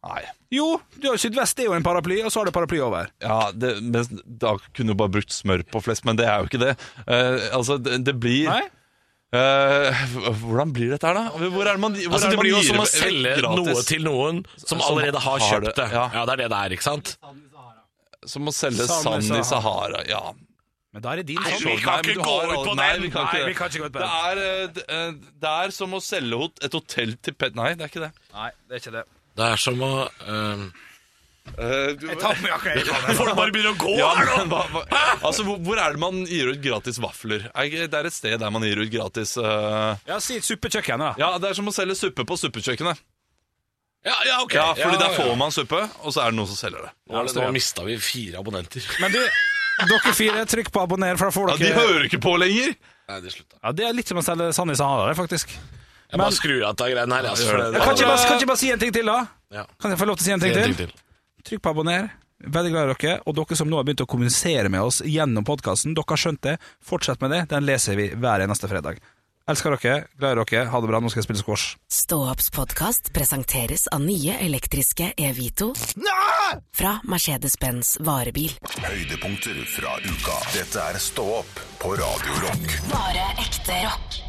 B: Nei.
C: Jo, du har jo sydvest er jo en paraply, og så har du paraply over.
B: Ja, det, men da kunne du bare brukt smør på flest, men det er jo ikke det. Eh, altså, det, det blir
C: Nei?
B: Eh, Hvordan blir dette her, da? Hvor er det man, hvor
D: Altså,
B: er
D: det
B: man
D: blir jo
B: gir
D: som å
B: vekk
D: selge
B: gratis?
D: noe til noen som allerede har
B: har
D: kjøpt
B: det,
D: det.
B: ja.
D: Ja, det er det det er, ikke sant?
B: Som å selge sand
C: Sand i
B: i
C: Sahara.
B: Sahara. Ja.
C: Men da er det din
D: Nei,
C: sånn.
D: vi kan
B: men
D: ikke
B: du
D: gå
B: har
D: ut
B: alle-
D: på
B: nei,
D: den.
B: Vi kan
C: Nei,
B: ikke.
C: vi kan ikke gå ut
B: det,
C: på
B: er, eh, d- eh, det er som å selge hot- et hotell til Pet... Nei, det er ikke det.
C: Nei, det er ikke det.
D: Det er som å ehm,
B: Eh, du,
C: Jeg tar med jakka. jeg tar med.
D: Folk bare begynner å gå
B: ja,
D: her nå!
B: men, hva, hva, altså, hvor, hvor er det man gir ut gratis vafler? Er ikke- Det er et sted der man gir ut gratis eh,
C: Ja, si suppekjøkkenet, da.
B: Ja, det er som å selge suppe på suppekjøkkenet.
D: Ja, ja, ok.
B: Ja, fordi
D: ja,
B: der får man suppe, og så er det noen som selger det.
D: Nå, nå mista vi fire abonnenter.
C: Men du, dere fire, trykk på abonner, for da får
B: Ja, De
C: dere
B: hører ikke på lenger!
D: Nei, det slutta.
C: Ja, Det er litt som å selge sand i Sahara, det, faktisk.
D: Jeg bare skrur av dette greiene her. Altså, for det,
C: Kan ikke, bare, kan ikke bare si en ting til, da?
D: Ja.
C: Kan jeg få lov til å si en ting
D: En
C: til?
D: ting til.
C: Trykk på abonner. Veldig glad i dere. Og dere som nå har begynt å kommunisere med oss gjennom podkasten, dere har skjønt det. Fortsett med det. Den leser vi hver eneste fredag. Elsker dere, glad i dere. Ha det bra. Nå skal jeg spille squash.
A: Ståopps podkast presenteres av nye elektriske Evito fra Mercedes-Benz varebil.
H: Høydepunkter fra uka. Dette er Stå opp på Radio Rock.
A: Bare ekte rock.